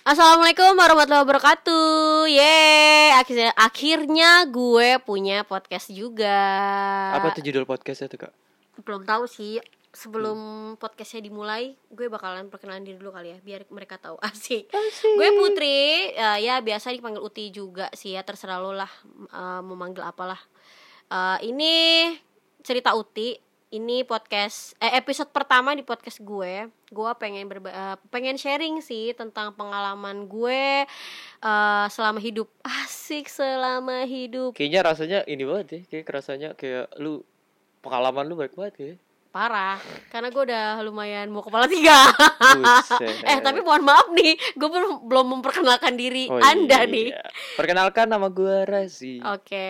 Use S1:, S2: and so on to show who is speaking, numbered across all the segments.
S1: Assalamualaikum warahmatullahi wabarakatuh. Yeay, akhirnya akhirnya gue punya podcast juga.
S2: Apa tuh judul podcastnya tuh kak?
S1: Belum tahu sih. Sebelum podcastnya dimulai, gue bakalan perkenalan diri dulu kali ya, biar mereka tahu asik. Gue Putri, eh, ya biasa dipanggil Uti juga sih ya, terserah lo lah eh, mau manggil apalah. Eh, ini cerita Uti. Ini podcast eh, episode pertama di podcast gue. Gue pengen berba- eh, pengen sharing sih tentang pengalaman gue eh, selama hidup. Asik selama hidup.
S2: Kayaknya rasanya ini banget ya, kayak kerasanya kayak lu pengalaman lu baik banget ya.
S1: parah karena gue udah lumayan mau kepala tiga
S2: Buset.
S1: eh tapi mohon maaf nih gue belum belum memperkenalkan diri
S2: Iya. Oh
S1: anda
S2: iya.
S1: nih Oh.
S2: Perkenalkan nama gua Razi.
S1: oke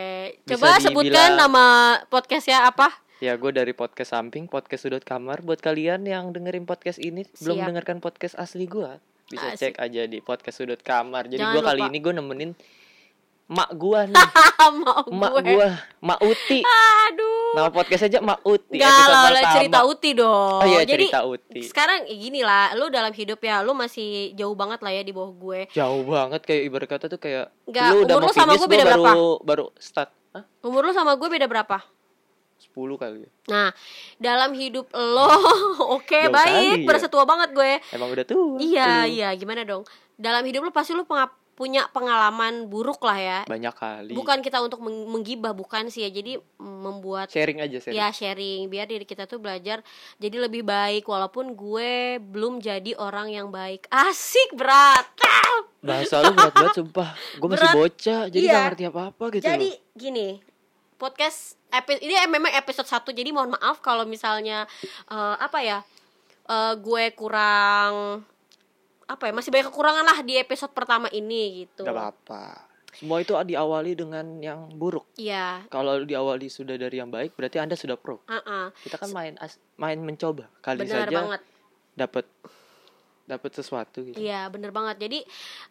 S2: Bisa
S1: coba sebutkan
S2: dibilang-
S1: nama podcastnya apa
S2: Ya gue dari podcast samping, podcast sudut kamar. Buat kalian yang dengerin podcast ini
S1: Siap.
S2: belum mendengarkan podcast asli gua bisa
S1: Asik.
S2: cek aja di podcast sudut kamar. Jadi
S1: Jangan
S2: gua kali
S1: lupa.
S2: ini gue nemenin mak gua nih,
S1: Ah, mau
S2: mak
S1: gue
S2: gua, mak Uti.
S1: aduh
S2: Nama podcast aja mak Uti.
S1: Enggak
S2: episode
S1: lah, lah,
S2: pertama.
S1: cerita uti dong
S2: Oh iya
S1: jadi
S2: cerita Uti.
S1: sekarang ya gini lah lu dalam hidup ya lu masih jauh banget lah ya di bawah gue
S2: jauh banget kayak ibarat kata tuh kayak
S1: Nggak,
S2: lu udah
S1: umur
S2: mau
S1: lu sama
S2: finish
S1: gua beda
S2: gua baru baru start Hah?
S1: umur lu sama gue beda berapa
S2: 10 kali ya.
S1: nah dalam hidup lo oke
S2: Jauh
S1: baik
S2: kali ya.
S1: bersetua banget gue
S2: emang udah tua
S1: Iya,
S2: lu.
S1: iya, gimana dong? Dalam hidup lu pasti lu penga- punya pengalaman buruk lah ya.
S2: banyak kali
S1: Bukan kita untuk meng- menggibah, bukan sih ya. Jadi mm, membuat
S2: sharing aja sharing
S1: ya sharing biar diri kita tuh belajar jadi lebih baik walaupun gue belum jadi orang yang baik. Asik berat. Ah!
S2: bahasa lu berat banget sumpah gue masih
S1: Berat.
S2: bocah jadi
S1: Iya.
S2: gak ngerti apa apa gitu
S1: Jadi
S2: loh.
S1: gini, podcast epi- ini memang episode 1 jadi mohon maaf kalau misalnya eh, apa ya? eh, gue kurang apa ya? Masih banyak kekurangan lah di episode pertama ini gitu.
S2: gak apa apa semua itu diawali dengan yang buruk
S1: Iya,
S2: kalau diawali sudah dari yang baik berarti anda sudah pro
S1: heeh.
S2: kita kan main as- main mencoba kali
S1: benar
S2: saja
S1: banget.
S2: dapat dapat sesuatu gitu
S1: Iya, benar banget. Jadi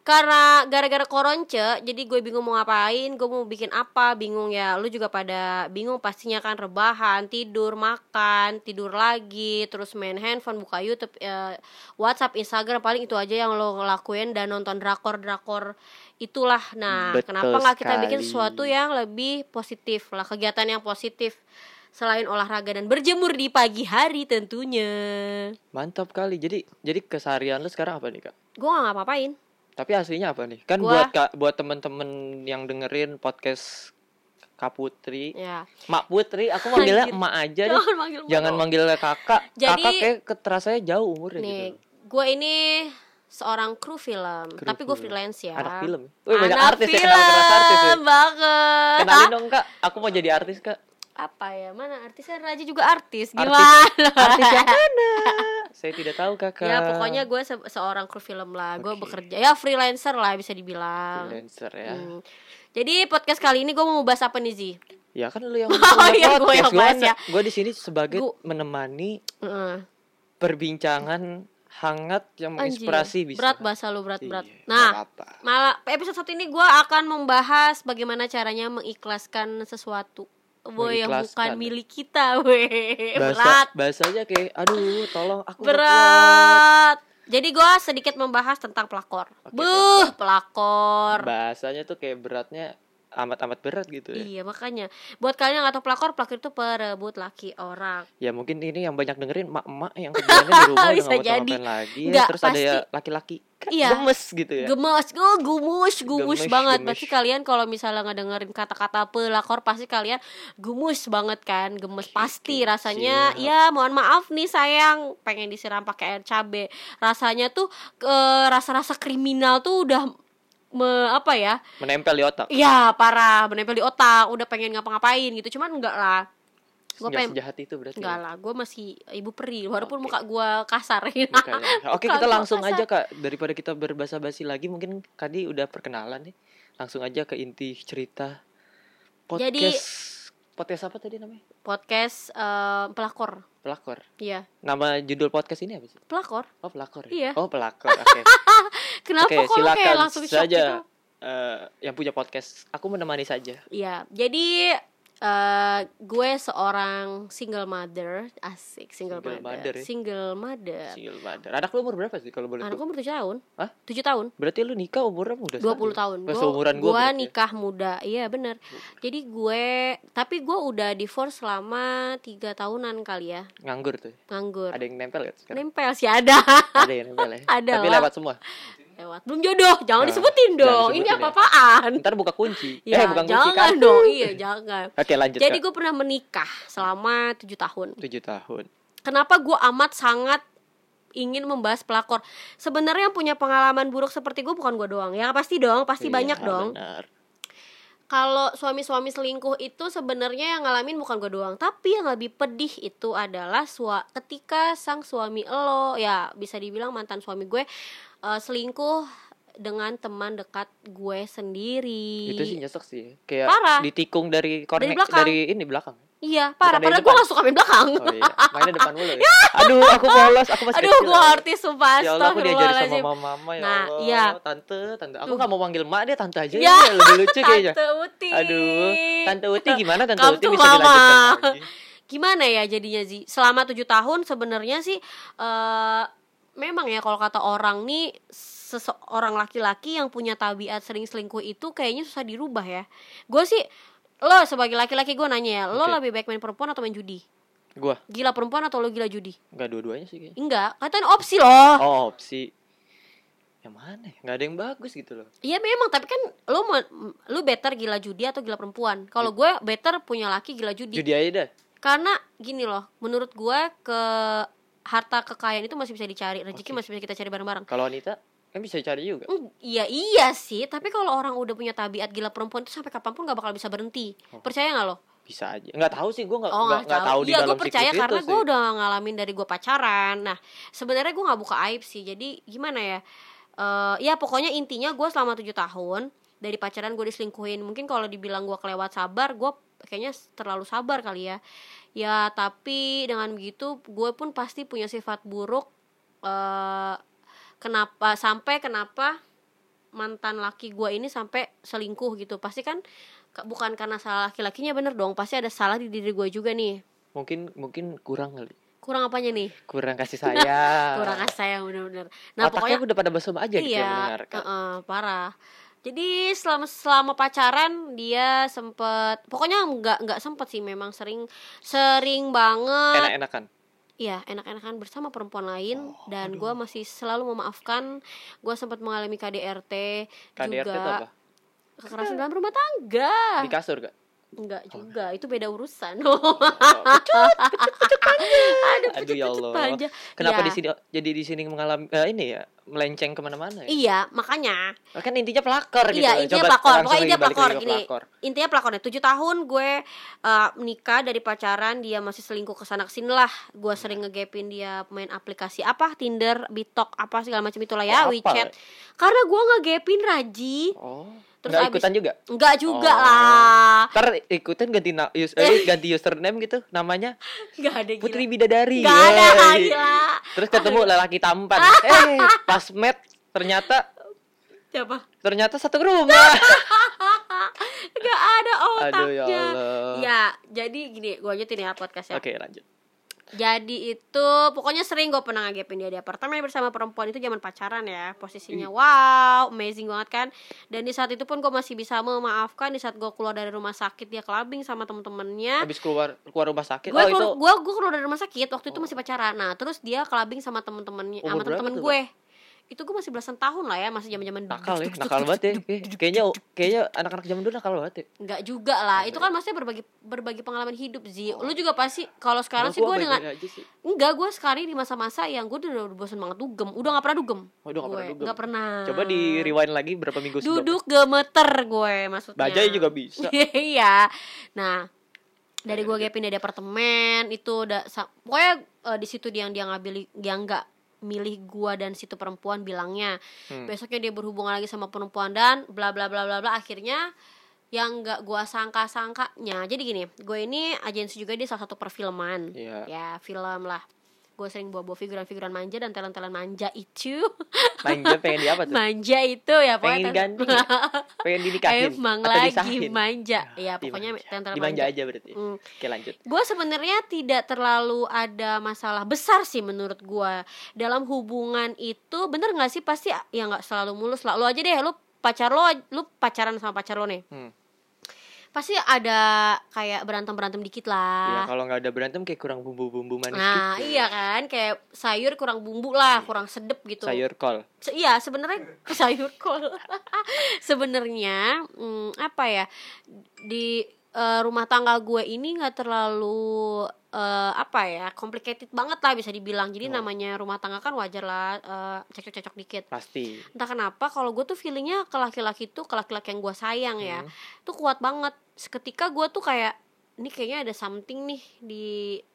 S1: karena gara-gara koronce, jadi gue bingung mau ngapain, gue mau bikin apa, bingung ya. Lu juga pada bingung pastinya kan rebahan, tidur, makan, tidur lagi, terus main handphone, buka YouTube, eh, WhatsApp, Instagram, paling itu aja yang lo ngelakuin dan nonton drakor-drakor itulah. Nah,
S2: Betul
S1: kenapa nggak kita bikin
S2: sekali.
S1: sesuatu yang lebih positif lah, kegiatan yang positif selain olahraga dan berjemur di pagi hari tentunya.
S2: mantap kali jadi jadi keseharian lu sekarang apa nih kak
S1: Gue gak ngapa-ngapain.
S2: Tapi aslinya apa nih? Kan
S1: Gua-
S2: buat ka, buat temen-temen yang dengerin podcast Kak Putri,
S1: Ya.
S2: Mak Putri, aku manggilnya
S1: Anjir.
S2: Emak aja deh.
S1: Jangan manggil gua
S2: Jangan
S1: dong.
S2: manggil kakak.
S1: Jadi-
S2: kakak kayak keterasanya jauh umurnya
S1: Nih,
S2: gitu.
S1: gue ini seorang kru film,
S2: Kru
S1: tapi gue
S2: film.
S1: freelance ya.
S2: Anak film. Wih, banyak
S1: Anak
S2: artis ya,
S1: film
S2: kenal keras artis ya.
S1: banget.
S2: Kenalin
S1: Ah,
S2: dong kak, aku mau jadi artis kak.
S1: Apa ya? Mana artisnya Raja juga artis.
S2: Artis.
S1: Gimana?
S2: Artis ya? yang mana? Saya tidak tahu kakak.
S1: Ya pokoknya gue se- seorang kru film lah. Gue
S2: Oke.
S1: bekerja ya freelancer lah bisa dibilang.
S2: Freelancer ya.
S1: Hmm. Jadi podcast kali ini gue mau bahas apa nih Zi?
S2: Ya kan lu yang
S1: iya, gua yang bahas ya.
S2: Gue di sini sebagai
S1: Gua-
S2: menemani Hmm,
S1: Heeh.
S2: perbincangan hangat yang
S1: Anjir,
S2: menginspirasi bisa.
S1: Berat bahasa lu berat-berat.
S2: Iya,
S1: Nah,
S2: gak apa-apa.
S1: Malah episode satu ini gue akan membahas bagaimana caranya mengikhlaskan sesuatu. Boy yang bukan
S2: Mengikhlaskan. ya?
S1: milik kita, weh.
S2: bahasa
S1: Berat,
S2: bahasanya kayak aduh tolong aku nggak kuat."
S1: berat. Jadi gue sedikit membahas tentang pelakor.
S2: Oke,
S1: Buh, pelakor.
S2: bahasanya tuh kayak beratnya amat amat berat gitu ya
S1: Iya makanya buat kalian yang gak tau pelakor pelakor itu perebut laki orang.
S2: ya mungkin ini yang banyak dengerin emak emak yang kerjaannya di rumah udah
S1: Bisa
S2: nggak
S1: jadi.
S2: ngapain lagi
S1: Nggak,
S2: terus ada ya laki-laki kan
S1: Iya.
S2: gemes gitu ya
S1: Gemes, oh, gumus, gumus
S2: Gemes,
S1: banget.
S2: gemes.
S1: Pasti kalian kalau misalnya ngedengerin kata-kata pelakor pasti kalian gumus banget kan, gemes pasti
S2: oke,
S1: rasanya.
S2: siap.
S1: Ya, mohon maaf nih sayang, pengen disiram pakai air cabe. Rasanya tuh eh, rasa-rasa kriminal tuh udah me- apa ya?
S2: menempel di otak
S1: Ya, parah, menempel di otak, udah pengen ngapa-ngapain gitu. Cuman enggak lah. Gue
S2: nggak
S1: pengen
S2: sejahat itu berarti
S1: enggak
S2: ya.
S1: lah, gue masih ibu peri walaupun
S2: Oke.
S1: muka
S2: Iya.
S1: gue kasar.
S2: Makanya. oke
S1: Muka
S2: kita
S1: gua
S2: langsung
S1: kasar.
S2: aja kak daripada kita berbahasa basi lagi mungkin tadi udah perkenalan nih langsung aja ke inti cerita podcast
S1: Jadi-
S2: podcast apa tadi namanya
S1: Podcast eh, pelakor.
S2: pelakor
S1: Iya,
S2: nama judul podcast ini apa sih
S1: pelakor.
S2: Oh pelakor ya?
S1: Iya.
S2: Oh pelakor. Oke.
S1: Kenapa
S2: Oke,
S1: kok lo kayak
S2: silakan
S1: langsung shock gitu?
S2: saja eh, yang punya podcast. Aku menemani saja.
S1: Iya, jadi Eh, gue seorang single mother, asik single,
S2: Single
S1: mother,
S2: mother ya?
S1: single mother.
S2: Single mother. Anak lu umur berapa sih kalau boleh?
S1: Iya. Anak gue
S2: tahu?
S1: umur 7 tahun.
S2: Hah?
S1: 7 tahun.
S2: Berarti lu nikah umurnya muda
S1: 20 tahun.
S2: Gak seumuran ya? gue.
S1: Gue nikah muda. Iya, bener Jadi gue tapi gue udah divorce selama 3 tahunan kali ya,
S2: Nganggur tuh.
S1: nganggur.
S2: Ada yang nempel gak sekarang?
S1: Nempel sih ada.
S2: Ada yang nempel ya.
S1: Ada
S2: Tapi
S1: lah.
S2: lewat semua.
S1: Lewat. Belum jodoh. Jangan
S2: Nah,
S1: disebutin
S2: jangan
S1: dong. Ini
S2: disebutin ya.
S1: apa-apaan?
S2: Ntar buka kunci.
S1: Ya,
S2: eh bukan kunci
S1: jangan
S2: kan?
S1: dong. Iya, jangan.
S2: Oke lanjut.
S1: Jadi
S2: Kak.
S1: gue pernah menikah selama 7 tahun.
S2: tujuh tahun.
S1: kenapa gue amat sangat ingin membahas pelakor sebenarnya yang punya pengalaman buruk seperti gue bukan gue doang ya pasti dong pasti
S2: Iya,
S1: banyak dong
S2: Benar.
S1: kalau suami-suami selingkuh itu sebenarnya yang ngalamin bukan gue doang tapi yang lebih pedih itu adalah sua ketika sang suami elo ya bisa dibilang mantan suami gue eh, selingkuh dengan teman dekat gue sendiri
S2: Itu sih nyesek sih. Kayak
S1: Parah.
S2: ditikung dari
S1: Dari
S2: kornek dari,
S1: belakang.
S2: ini belakang.
S1: iya parah
S2: Bukan dari
S1: padahal gue
S2: depan.
S1: nggak suka main belakang
S2: Oh iya. Mainnya depan mulu ya. Aduh, aku polos, aku masih
S1: aduh
S2: kecil.
S1: gue artis sumpah
S2: Ya Allah, aku diajari sama
S1: Astagfirullahaladzim.
S2: mama-mama ya
S1: Nah,
S2: Allah.
S1: iya.
S2: Tante, tante. Aku
S1: Tuh.
S2: nggak mau manggil mak dia tante aja
S1: Ya.
S2: ya. Lebih lucu kayaknya.
S1: Tante Uti
S2: Aduh, tante Uti gimana tante
S1: Come
S2: Uti
S1: to
S2: bisa
S1: mama.
S2: dilanjutkan lagi?
S1: gimana ya jadinya Zi? Selama tujuh tahun sebenarnya sih eh memang ya kalau kata orang nih seseorang laki-laki yang punya tabiat sering selingkuh itu kayaknya susah dirubah ya. Gue sih lo sebagai laki-laki gue nanya ya, lo
S2: Oke.
S1: lebih baik main perempuan atau main judi?
S2: Gua
S1: Gila perempuan atau lo gila judi?
S2: nggak dua-duanya sih kayaknya.
S1: Enggak, katanya opsi loh.
S2: Oh, opsi. Yang mana? ya? Nggak ada yang bagus gitu loh.
S1: Iya memang, tapi kan lo mau- lo better gila judi atau gila perempuan. Kalau gue better punya laki gila judi.
S2: Judi aja dah.
S1: karena gini loh menurut gue ke harta kekayaan itu masih bisa dicari rezeki
S2: Oke.
S1: masih bisa kita cari bareng-bareng
S2: Kalau wanita kan bisa cari juga.
S1: Mm, iya iya sih tapi kalau orang udah punya tabiat gila perempuan itu sampai kapanpun nggak bakal bisa berhenti
S2: Oh.
S1: percaya nggak lo
S2: Bisa aja. Nggak tahu sih gua nggak
S1: oh
S2: nggak
S1: nggak
S2: nggak tahu
S1: tahu
S2: di
S1: iya
S2: dalam
S1: gue percaya
S2: siklus
S1: karena
S2: itu
S1: gue
S2: sih.
S1: udah ngalamin dari gue pacaran nah sebenarnya gue nggak buka aib sih jadi gimana ya Eh ya pokoknya intinya gue selama tujuh tahun dari pacaran gue diselingkuhin mungkin kalau dibilang gue kelewat sabar gue kayaknya terlalu sabar kali ya ya tapi dengan begitu gue pun pasti punya sifat buruk eh kenapa sampai kenapa mantan laki gue ini sampai selingkuh gitu pasti kan ke- bukan karena salah laki-lakinya bener dong pasti ada salah di diri gue juga nih
S2: Mungkin mungkin kurang kali.
S1: kurang apanya nih
S2: Kurang kasih sayang.
S1: Nah, kurang kasih sayang bener-bener nah
S2: Eh,
S1: pokoknya
S2: Otaknya udah pada basah aja gitu yang
S1: iya
S2: mendengarkan.
S1: heeh, parah jadi selama selama pacaran dia sempet pokoknya nggak nggak sempet sih memang sering sering banget
S2: Enak-enakan.
S1: Iya, enak-enakan bersama perempuan lain
S2: Oh,
S1: dan gue masih selalu memaafkan. Gue sempat mengalami KDRT,
S2: KDRT itu
S1: juga
S2: apa?
S1: kekerasan dalam rumah tangga.
S2: Di kasur gak?
S1: Enggak
S2: Oh.
S1: juga, itu beda urusan.
S2: Aduh, ya Allah.
S1: aja. Iya.
S2: Kenapa di sini jadi di sini mengalami eh, ini ya melenceng kemana-mana ya?
S1: Iya, makanya
S2: Kan intinya pelakor gitu.
S1: Iya,
S2: loh.
S1: intinya
S2: Coba
S1: pelakor.
S2: langsung
S1: Pokoknya
S2: lagi
S1: intinya
S2: balik lagi
S1: pelakor,
S2: ke
S1: gini. intinya pelakonnya tujuh tahun gue eh, menikah dari pacaran dia masih selingkuh kesana kesini lah gue
S2: Iya.
S1: sering ngegapin dia main aplikasi apa Tinder, Bitok apa segala macam itulah ya
S2: Oh, apa?
S1: WeChat karena gue ngegapin Raji
S2: Oh.
S1: Terus
S2: Terus
S1: abis-
S2: ikutan juga.
S1: enggak juga
S2: Oh.
S1: lah
S2: Ntar ikutan ganti na- us- eh, ganti username gitu namanya
S1: Enggak ada gila
S2: Putri Bidadari.
S1: Enggak ada
S2: Yoi.
S1: gila
S2: Terus ketemu lelaki tampan. eh, pas match ternyata
S1: siapa
S2: ternyata satu rumah.
S1: enggak ada otaknya
S2: Aduh ya Allah.
S1: Ya, jadi gini gue lanjutin ya podcastnya
S2: Oke, lanjut.
S1: Jadi itu pokoknya sering gue pernah ngegepin dia di apartemen bersama perempuan itu zaman pacaran ya
S2: Mm.
S1: posisinya wow amazing banget kan dan di saat itu pun gue masih bisa memaafkan di saat gue keluar dari rumah sakit dia kelabing sama temen-temennya
S2: Habis keluar keluar rumah sakit.
S1: gue
S2: oh, itu
S1: keluar
S2: Oh.
S1: gue gue keluar dari rumah sakit waktu itu masih pacaran nah terus dia kelabing sama temen-temennya sama
S2: Umur berapa
S1: temen-temen
S2: tuh,
S1: gue itu gue masih belasan tahun lah ya masih gitu. zaman zaman
S2: nakal ya, nakal banget ya. Eh, Kayaknya kayaknya anak-anak zaman dulu nakal banget ya.
S1: nggak juga lah itu kan maksudnya berbagi berbagi pengalaman hidup sih lu juga pasti kalau sekarang
S2: Cuma
S1: sih gue
S2: baik-baik
S1: dengan
S2: aja sih.
S1: Enggak, gue sekarang di masa-masa yang gue udah udah bosen banget dugem Udah gak pernah dugem
S2: Waduh, Oh, nggak pernah
S1: Gue
S2: dugem.
S1: nggak pernah
S2: Coba di rewind lagi berapa minggu sebelumnya.
S1: Eh, Duduk gemeter gue maksudnya
S2: Bajai juga bisa. Iya,
S1: Iya Nah dari gue
S2: Lanjut.
S1: gapin dari apartemen itu udah sa- pokoknya eh, di situ dia yang dia ngambil yang nggak milih gue dan situ perempuan bilangnya
S2: Hmm.
S1: besoknya dia berhubungan lagi sama perempuan dan bla bla bla bla bla akhirnya yang nggak gue sangka sangkanya jadi gini gue ini agensi juga dia salah satu perfilman
S2: Iya.
S1: ya film lah gue sering bawa-bawa figuran-figuran manja dan talent-talent manja itu
S2: Manja Nah, pengen di apa tuh?
S1: manja itu ya
S2: Pengen
S1: talent-
S2: ganti. Pengen dinikahin
S1: emang
S2: atau
S1: lagi
S2: disahin?
S1: manja ya pokoknya
S2: Dimanja.
S1: talent-talent
S2: Dimanja
S1: manja
S2: aja berarti.
S1: Mm.
S2: Oke, lanjut.
S1: Gue sebenarnya tidak terlalu ada masalah besar sih menurut gue dalam hubungan itu bener nggak sih pasti ya nggak selalu mulus lah. Lo aja deh, lo pacar lo, lo pacaran sama pacar lo nih,
S2: Hmm.
S1: pasti ada kayak berantem berantem dikit
S2: Ya,
S1: lah.
S2: kalau nggak ada berantem kayak kurang bumbu-bumbu
S1: Ah.
S2: manis
S1: nah
S2: gitu. Iya.
S1: iya kan, kayak sayur kurang bumbu lah, kurang sedep gitu.
S2: Sayur kol.
S1: Se- iya sebenarnya sayur kol sebenarnya mm, apa ya di eh, rumah tangga gue ini nggak terlalu eh, apa ya complicated banget lah bisa dibilang jadi
S2: Oh.
S1: namanya rumah tangga kan wajar lah eh, cekcok-cekcok dikit
S2: Pasti.
S1: entah kenapa kalau gue tuh feelingnya ke laki-laki tuh ke laki-laki yang gue sayang ya
S2: Hmm.
S1: tuh kuat banget seketika gue tuh kayak ini kayaknya ada something nih di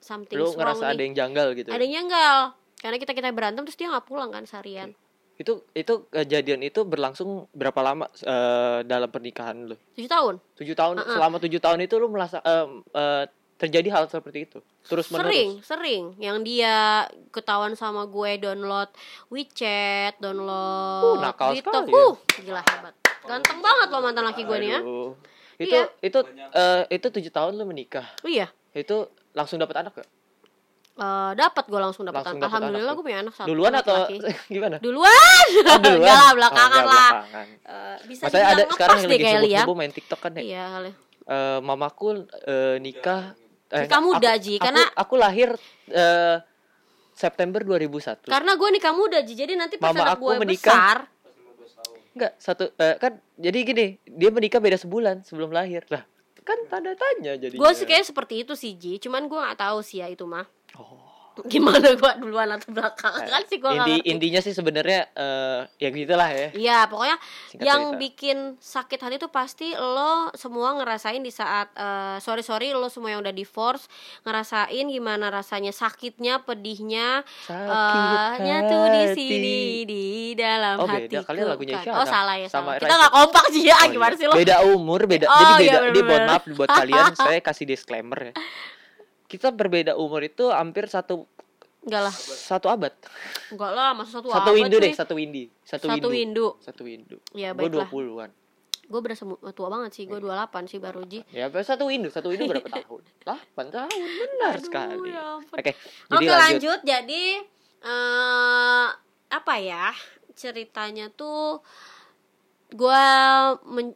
S1: something
S2: Lu ngerasa ada
S1: nih.
S2: yang janggal gitu.
S1: ada yang nyanggal karena kita kita berantem terus dia nggak pulang kan seharian
S2: Itu itu kejadian itu berlangsung berapa lama eh, dalam pernikahan lu?
S1: tujuh tahun
S2: Tujuh tahun selama tujuh tahun itu lu merasa em, eh, terjadi hal seperti itu terus
S1: sering
S2: menerus.
S1: sering yang dia ketahuan sama gue download WeChat
S2: Uh,
S1: download
S2: nakal
S1: TikTok
S2: sekali ya.
S1: uh gila hebat ganteng banget loh mantan laki gue nih ya
S2: Aduh.
S1: Iya.
S2: Itu itu eh, itu tujuh tahun lu menikah.
S1: Oh iya
S2: Itu langsung dapat anak gak?
S1: Eh dapat gue langsung dapat anak
S2: Langsung dapet
S1: alhamdulillah
S2: anak
S1: gue punya anak satu
S2: Duluan atau
S1: laki-laki.
S2: gimana?
S1: duluan
S2: Oh, duluan.
S1: Enggak lah,
S2: Oh,
S1: belakangan
S2: enggak,
S1: lah.
S2: belakangan.
S1: Eh, bisa
S2: Masalahnya ada
S1: dibilang
S2: sekarang
S1: ngepas
S2: yang
S1: deh
S2: lagi
S1: kayaknya
S2: sibuk-sibuk main TikTok kan ya.
S1: iya kali.
S2: Eh, mamaku eh, nikah eh,
S1: Nikah muda,
S2: aku-
S1: Ji,
S2: aku-
S1: karena-
S2: aku, lahir eh, September 2001.
S1: karena gue nikah muda Ji, jadi nanti pas
S2: Mama
S1: anak gue
S2: aku menikah.
S1: besar
S2: Enggak, satu eh, kan jadi gini, dia menikah beda sebulan sebelum lahir. Lah, kan tanda tanya jadi.
S1: gue sih kayaknya seperti itu sih Ji cuman gue nggak tahu sih ya itu mah
S2: Oh.
S1: gimana gue duluan atau belakangan kan sih gue nggak
S2: Nah, Inti-
S1: ngerti.
S2: intinya sih sebenarnya eh, ya gitulah ya.
S1: Iya, pokoknya
S2: Singkat
S1: yang
S2: cerita.
S1: bikin sakit hati tuh pasti lo semua ngerasain di saat eh, sorry sorry lo semua yang udah divorce ngerasain gimana rasanya sakitnya, pedihnya,
S2: Sakit
S1: eh, nyatu di
S2: hati.
S1: sini di dalam
S2: Oh,
S1: hati.
S2: beda. Kalian lagunya Isyana.
S1: Oh salah ya
S2: Sama
S1: salah.
S2: Raisa.
S1: Kita nggak kompak sih ya,
S2: Oh,
S1: gimana
S2: iya.
S1: sih lo?
S2: Beda umur, beda.
S1: Oh,
S2: jadi
S1: iya,
S2: beda. Ini
S1: bener-bener.
S2: mohon maaf buat kalian, saya kasih disclaimer ya. Kita berbeda umur itu hampir satu
S1: Enggak lah,
S2: satu abad.
S1: enggak lah, masa satu
S2: satu
S1: abad
S2: windu
S1: cuy.
S2: deh, satu windy. Satu,
S1: Satu windu.
S2: Satu windu.
S1: Ya,
S2: Gua
S1: baiklah.
S2: 20-an.
S1: Gue berasa mu- tua banget sih, gue 28 sih baru Ji.
S2: Ya, apa, satu windu, satu windu berapa tahun? 8 tahun, benar
S1: Aduh,
S2: sekali.
S1: ya ampun.
S2: Oke,
S1: Oke
S2: jadi
S1: lanjut,
S2: lanjut.
S1: jadi eh apa ya ceritanya tuh gue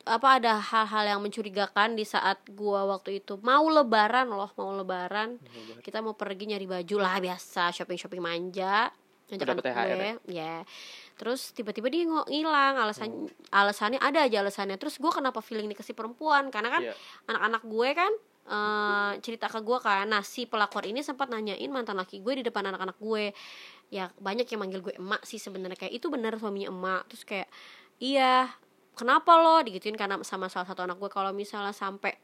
S1: apa ada hal-hal yang mencurigakan di saat gua waktu itu mau lebaran loh mau lebaran kita mau pergi nyari baju lah biasa shopping shopping manja ngajak
S2: Dapat
S1: anak
S2: THR
S1: gue ya terus tiba-tiba dia ngo- ngilang alasan alasannya ada aja alasannya terus gua kenapa feeling dikasih perempuan karena kan
S2: Iya.
S1: anak-anak gue kan eh, cerita ke gue kan nah si pelakor ini sempat nanyain mantan laki gue di depan anak-anak gue ya banyak yang manggil gue emak sih sebenarnya kayak itu bener suaminya emak terus kayak iya kenapa lo digituin karena sama salah satu anak gue kalau misalnya sampai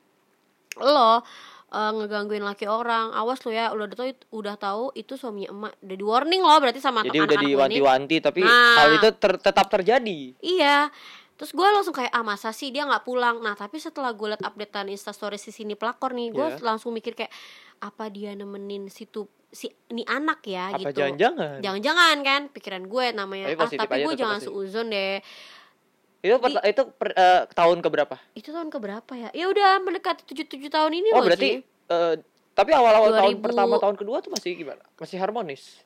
S1: lo eh, ngegangguin laki orang awas lo ya udah tau udah tahu itu suaminya emak udah di warning lo berarti sama
S2: Jadi udah
S1: anak-anak gue ini
S2: diwanti-wanti tapi
S1: Nah.
S2: hal itu ter- tetap terjadi.
S1: Iya. Terus gue langsung kayak ah masa sih dia nggak pulang. Nah tapi setelah gue liat updatean instastory si sini pelakor nih, gue
S2: Iya.
S1: langsung mikir kayak apa dia nemenin situ si ini anak ya
S2: Apa
S1: gitu.
S2: jangan-jangan?
S1: Jangan-jangan kan pikiran gue namanya.
S2: Tapi
S1: ah
S2: positif
S1: tapi
S2: aja
S1: gue
S2: tetap
S1: jangan
S2: positif.
S1: seuzon deh.
S2: Itu per- itu per- eh, tahun keberapa?
S1: Itu tahun keberapa ya? Ya udah mendekati tujuh tujuh tahun ini
S2: Oh
S1: loh. Ji.
S2: berarti eh, tapi awal-awal tahun
S1: 2000.
S2: pertama tahun kedua tuh masih gimana? Masih harmonis.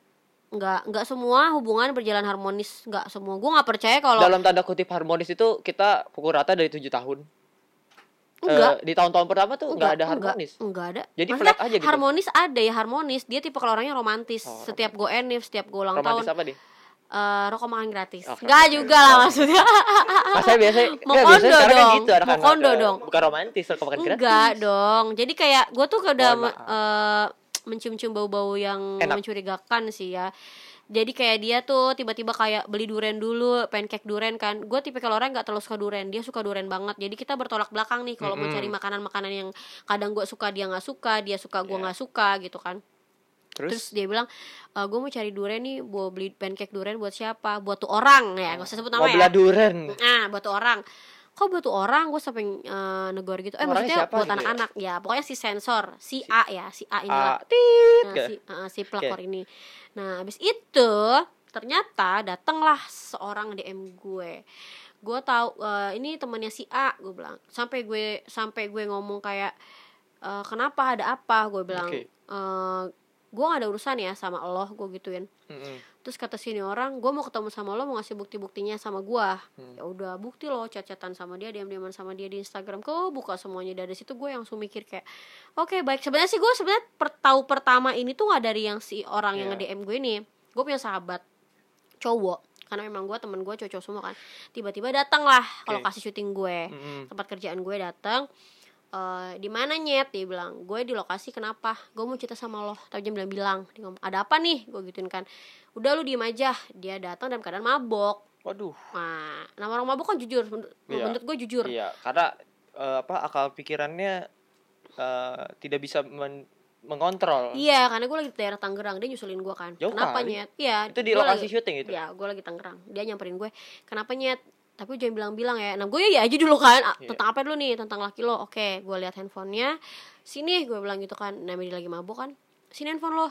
S1: nggak nggak semua hubungan berjalan harmonis nggak semua. Gue nggak percaya kalau
S2: Dalam tanda kutip harmonis itu kita pukul rata dari tujuh tahun. Eh,
S1: enggak.
S2: di tahun-tahun pertama tuh nggak ada harmonis.
S1: Enggak, enggak ada.
S2: Jadi
S1: Maksudnya
S2: flat aja gitu? Oh,
S1: Harmonis ada ya harmonis. Dia tipe kalau orangnya romantis. setiap gue enif, setiap gue ulang
S2: Romantis
S1: tahun
S2: apa nih?
S1: eh rokok makan gratis.
S2: Oh,
S1: Enggak juga lah maksudnya.
S2: Masa ya biasanya
S1: Ah, Mau
S2: nggak, biasanya
S1: kondo
S2: sekarang kan
S1: dong.
S2: gitu anak-anak,
S1: Mau kondo
S2: eh,
S1: dong.
S2: Bukan romantis, kalau makan gratis.
S1: enggak dong. Jadi kayak gue tuh udah
S2: Mohon maaf.
S1: eh, mencium-cium bau-bau yang
S2: Enak.
S1: mencurigakan sih ya. Jadi kayak dia tuh tiba-tiba kayak beli duren dulu, pancake duren kan. Gue tipe kalau orang nggak terlalu suka duren, dia suka duren banget. Jadi kita bertolak belakang nih kalau
S2: Mm-mm.
S1: mau cari makanan-makanan yang kadang gue suka dia nggak suka, dia suka gue
S2: Iya.
S1: nggak suka gitu kan.
S2: Terus,
S1: Terus dia bilang, "Eh, gue mau cari durian nih, mau beli pancake durian buat siapa? Buat tuh orang ya, gak usah sebut
S2: mau
S1: nama ya.
S2: belah duren.
S1: Ah, buat tuh orang. kok butuh orang gue sampai eh, negor gitu eh
S2: Orangnya
S1: maksudnya
S2: siapa
S1: buat
S2: gitu ya?
S1: anak-anak ya? pokoknya si sensor si, A ya si A inilah
S2: Ah, tit,
S1: Nah,
S2: gitu.
S1: si, uh, si pelakor ini. Nah, habis itu ternyata datanglah seorang DM gue. Gue tahu uh, ini temannya si A, gue bilang. Sampai gue sampai gue ngomong kayak "Eh, kenapa ada apa? Gue bilang
S2: Oke.
S1: "Eh, gue gak ada urusan ya sama lo, gue gituin.
S2: Mm-mm.
S1: Terus kata sini orang, gue mau ketemu sama lo, mau ngasih bukti-buktinya sama gue.
S2: Hmm.
S1: Ya udah bukti lo, chat-chatan sama dia, diam-diaman sama dia di Instagram. Kok buka semuanya dari situ gue langsung mikir kayak, oke baik. Sebenarnya sih gue sebenarnya per tahu pertama ini tuh nggak dari yang si orang yang
S2: Iya.
S1: nge-DM gue ini. Gue punya sahabat cowok, karena memang gue temen gue cowok semua kan. Tiba-tiba datanglah kalau
S2: Oke.
S1: kasih syuting gue
S2: Mm-mm.
S1: tempat kerjaan gue datang eh di mana nyet dia bilang gue di lokasi kenapa gue mau cerita sama lo tapi dia bilang bilang dia ngomong ada apa nih gue gituin kan udah lu diem aja dia datang dalam keadaan mabok
S2: Waduh.
S1: nah nama orang mabok kan jujur menur-
S2: Iya.
S1: menurut gue jujur
S2: Iya, karena eh, apa akal pikirannya eh, tidak bisa men- mengontrol.
S1: iya karena gue lagi di daerah Tangerang dia nyusulin gue kan
S2: Jauh
S1: kenapa
S2: kali.
S1: nyet iya
S2: Itu di
S1: gue
S2: lokasi
S1: lagi-
S2: syuting itu.
S1: Iya, gue lagi Tangerang. Dia nyamperin gue, kenapa nyet? Tapi jangan bilang-bilang ya. Nah, gue ya aja dulu kan. "Ah,
S2: Iya.
S1: Tentang apa dulu nih? Tentang laki lo. Oke, gue lihat handphonenya. Sini, gue bilang gitu kan. Namanya dia lagi mabuk kan. Sini handphone lo.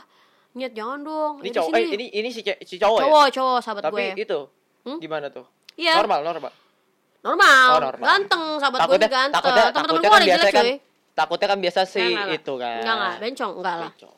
S1: Nyet, jangan dong.
S2: Ini
S1: Yaudah,
S2: cowok eh,
S1: Oh, ya sini."
S2: ini ini si, ce- si cowok, ya.
S1: cowok, cowok, sahabat
S2: Tapi
S1: gue.
S2: itu
S1: Hmm?
S2: gimana tuh?
S1: Iya, normal.
S2: Normal, normal. Oh, normal.
S1: Ganteng, sahabat gue
S2: Takutnya
S1: ini ganteng.
S2: takutnya
S1: Temen-temen
S2: takutnya
S1: gue
S2: kan
S1: ada
S2: biasa
S1: jelek,
S2: kan.
S1: cuy.
S2: Takutnya kan biasa si
S1: Enggak, enggak.
S2: itu kan.
S1: Enggak, enggak. Bencong, enggak lah.
S2: Cowok.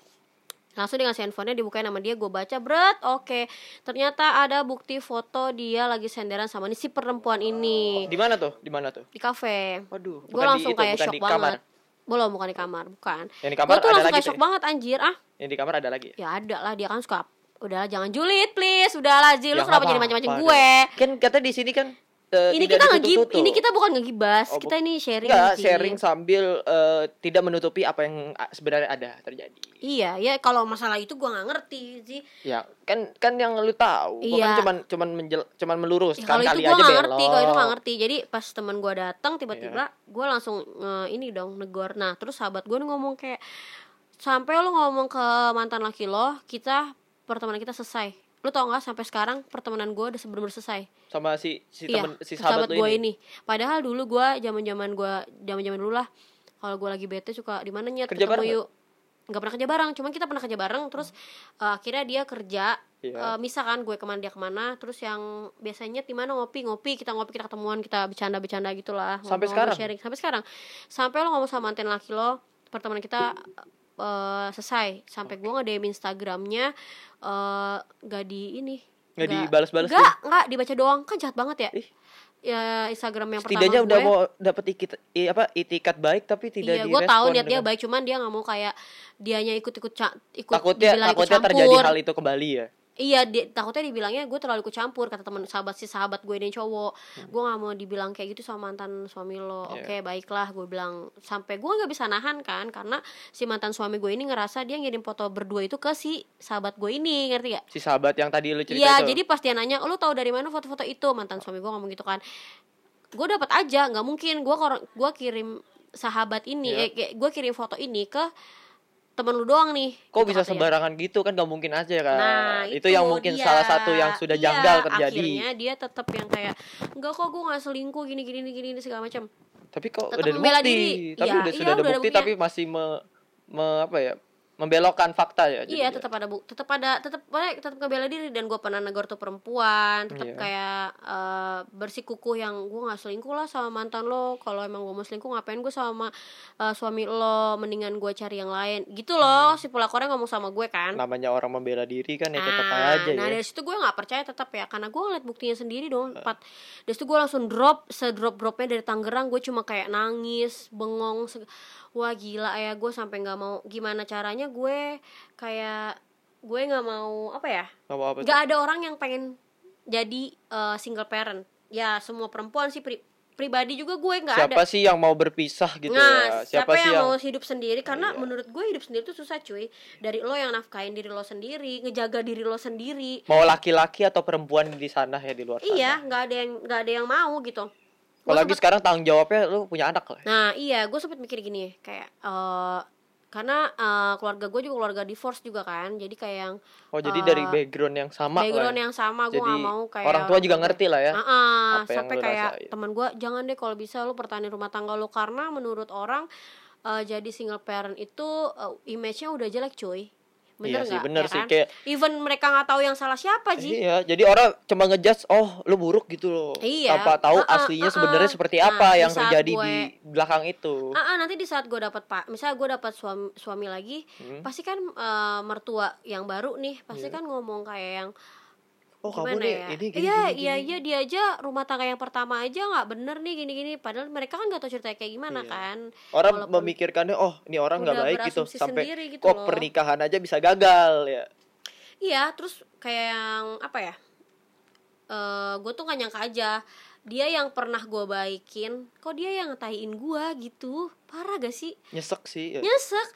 S1: langsung dengan handphonenya dibukain sama dia gue baca bret oke ternyata ada bukti foto dia lagi senderan sama ini si perempuan ini
S2: Oh, Di mana tuh? Di mana tuh?
S1: di kafe
S2: Waduh,
S1: gue langsung kayak
S2: bukan
S1: shock
S2: di kamar.
S1: banget belum bukan di kamar bukan
S2: Yang di
S1: gue
S2: kamar
S1: tuh
S2: ada
S1: langsung
S2: lagi.
S1: kayak
S2: tuh
S1: shock
S2: ya?
S1: banget anjir ah
S2: Yang di kamar ada lagi. ya?
S1: ya ada lah dia kan suka udahlah jangan julid please udahlah Ji Iya, lu
S2: Ya,
S1: kenapa
S2: nggak
S1: jadi macam-macam
S2: apa-apa
S1: gue
S2: dong. Kan kata di sini kan eh,
S1: ini
S2: tidak
S1: kita ngegib
S2: ditutup-tutup.
S1: ini kita bukan ngegibas
S2: Oh, bu-
S1: kita ini sharing
S2: Enggak,
S1: sih.
S2: sharing sambil eh, tidak menutupi apa yang a- sebenarnya ada terjadi.
S1: iya ya kalau masalah itu gue nggak ngerti sih
S2: Ya, kan kan yang lu tahu, bukan
S1: Iya.
S2: cuman cuman menjel, cuman melurus
S1: Ya,
S2: kan
S1: kalau itu
S2: kali
S1: gue
S2: aja
S1: gak
S2: belok. Iya.
S1: ngerti, kalau itu gak ngerti. Jadi pas temen gue datang tiba-tiba gue langsung eh, ini dong negor. Nah terus sahabat gue ngomong kayak sampai lo ngomong ke mantan laki lo, kita pertemanan kita selesai. Lo tau gak sampai sekarang pertemanan gue udah sebelum selesai.
S2: Sama si si temen si
S1: ke
S2: sahabat, lu
S1: gue
S2: ini.
S1: Iya, ini. Padahal dulu gue zaman-zaman gue zaman-zaman dulu lah kalau gue lagi bete suka di mana nyet
S2: Kerja bareng nggak?
S1: yuk. Gak pernah kerja bareng, cuman kita pernah kerja bareng terus eh, akhirnya dia kerja
S2: Iya.
S1: Eh, misal kan gue kemana dia kemana terus yang biasanya di mana ngopi ngopi kita ngopi kita ketemuan kita bercanda bercanda gitulah Ngobrol-ngobrol,
S2: Sampai sekarang?
S1: sharing sampai sekarang sampai lo ngomong sama mantan laki lo pertemanan kita eh, selesai sampai gue nggak DM Instagramnya eh, nggak di ini
S2: Nggak
S1: nggak-
S2: dibalas-balas
S1: nggak nggak dibaca doang kan jahat banget ya
S2: Ih.
S1: ya Instagram yang
S2: Setidaknya
S1: pertama
S2: udah
S1: gue
S2: mau dapat ikat i- apa itikat baik tapi
S1: iya,
S2: tidak
S1: gue
S2: direspon.
S1: tahu niat dia
S2: dengan-
S1: baik, cuman dia nggak mau kayak dianya ikut-ikut ca- ikut
S2: Takutnya
S1: dibilang ikut
S2: takutnya terjadi
S1: campur.
S2: hal itu kembali ya.
S1: Iya, dia, takutnya dibilangnya gue terlalu ikut campur kata teman sahabat si sahabat gue ini yang cowok. Gue nggak mau dibilang kayak gitu sama mantan suami lo.
S2: Hmm. Iya.
S1: Oke, baiklah gue bilang sampai gue nggak bisa nahan kan karena si mantan suami gue ini ngerasa dia ngirim foto berdua itu ke si sahabat gue ini, ngerti gak?
S2: Si sahabat yang tadi lu cerita
S1: Iya,
S2: itu.
S1: jadi pas dia nanya, "Lo tahu dari mana foto-foto itu?" Mantan suami gue ngomong gitu kan. Gue dapat aja, nggak mungkin gue gue kirim sahabat ini,
S2: Iya.
S1: eh, kayak gue kirim foto ini ke temen lu doang nih.
S2: Kok
S1: gitu
S2: bisa
S1: katanya.
S2: sembarangan gitu kan gak mungkin aja kan.
S1: Nah,
S2: itu, yang mungkin
S1: dia.
S2: salah satu yang sudah
S1: Iya,
S2: janggal terjadi.
S1: Akhirnya dia tetap yang kayak enggak kok gue gak selingkuh gini gini gini, gini segala macam.
S2: Tapi kok
S1: tetap
S2: udah ada
S1: membela
S2: bukti,
S1: diri.
S2: tapi
S1: Iya,
S2: udah
S1: iya,
S2: sudah ada
S1: udah ada
S2: bukti
S1: buktinya.
S2: tapi masih me, me- apa ya? membelokkan fakta ya.
S1: Iya,
S2: jadinya.
S1: tetap ada bu, tetap ada tetap banyak tetap ngebela diri dan gue pernah negor tuh perempuan, tetap
S2: Iya.
S1: kayak eh, bersikukuh yang gue gak selingkuh lah sama mantan lo. Kalau emang gue mau selingkuh ngapain gue sama eh, suami lo? Mendingan gue cari yang lain. Gitu loh, si pelakornya ngomong sama gue kan.
S2: namanya orang membela diri kan ya tetap
S1: Ah,
S2: aja
S1: nah dari
S2: ya.
S1: situ gue nggak percaya tetap ya karena gue ngeliat buktinya sendiri dong empat dari situ gue langsung drop sedrop dropnya dari Tangerang gue cuma kayak nangis bengong se- wah gila ya gue sampai nggak mau gimana caranya gue kayak gue nggak mau apa ya
S2: Nggak mau apa
S1: nggak ada orang yang pengen jadi eh, single parent ya semua perempuan sih pri- pribadi juga gue nggak ada
S2: siapa sih yang mau berpisah gitu
S1: nah, siapa,
S2: ya? Siapa, sih
S1: yang,
S2: yang, Iya.
S1: mau hidup sendiri? Karena menurut gue hidup sendiri tuh susah cuy. Dari lo yang nafkain diri lo sendiri, ngejaga diri lo sendiri.
S2: mau laki-laki atau perempuan di sana ya di luar sana?
S1: Iya, nggak ada yang nggak ada yang mau gitu. Gua
S2: Apalagi
S1: sempet-
S2: sekarang tanggung jawabnya lu punya anak lah.
S1: nah iya, gue sempet mikir gini kayak eh karena eh, keluarga gue juga keluarga divorce juga kan jadi kayak yang
S2: Oh jadi
S1: Eh,
S2: dari background yang sama
S1: background
S2: lah. ya.
S1: yang sama gue
S2: jadi
S1: gak mau kayak
S2: orang tua juga ngerti lah ya.
S1: Ah,
S2: apa yang
S1: sampai
S2: lu
S1: kayak
S2: rasain.
S1: teman gue jangan deh kalau bisa lu pertahanin rumah tangga lu karena menurut orang eh, jadi single parent itu eh, image-nya udah jelek cuy
S2: Iya
S1: bener
S2: sih,
S1: nggak
S2: bener
S1: ya
S2: sih,
S1: kan?
S2: kayak-
S1: even mereka nggak tahu yang salah siapa ji
S2: Iya, jadi orang cuma ngejudge, oh lu buruk gitu loh.
S1: Iya.
S2: Tanpa tahu
S1: Ah, ah,
S2: aslinya
S1: ah,
S2: sebenarnya
S1: ah.
S2: seperti
S1: Nah,
S2: apa
S1: di
S2: yang
S1: saat
S2: terjadi
S1: gue-
S2: di belakang itu.
S1: Ah, ah, nanti di saat gue dapat pak misalnya gue dapat suami suami lagi
S2: Hmm.
S1: pasti kan eh, mertua yang baru nih pasti
S2: Iya.
S1: kan ngomong kayak yang
S2: Oh kamu
S1: gimana
S2: nih
S1: ya?
S2: ini gini,
S1: iya, iya,
S2: gini, gini.
S1: iya dia aja rumah tangga yang pertama aja nggak bener nih gini-gini. Padahal mereka kan nggak tahu ceritanya kayak gimana
S2: Iya.
S1: kan.
S2: Orang
S1: Walaupun-
S2: memikirkannya oh ini orang nggak
S1: Udah
S2: baik gitu
S1: berasumsi
S2: sampai
S1: sendiri gitu
S2: kok
S1: loh.
S2: pernikahan aja bisa gagal ya.
S1: Iya, terus kayak yang apa ya? Eh, gue tuh gak nyangka aja dia yang pernah gue baikin, kok dia yang ngetahin gue gitu. Parah gak sih?
S2: Nyesek sih. Ya.
S1: Nyesek.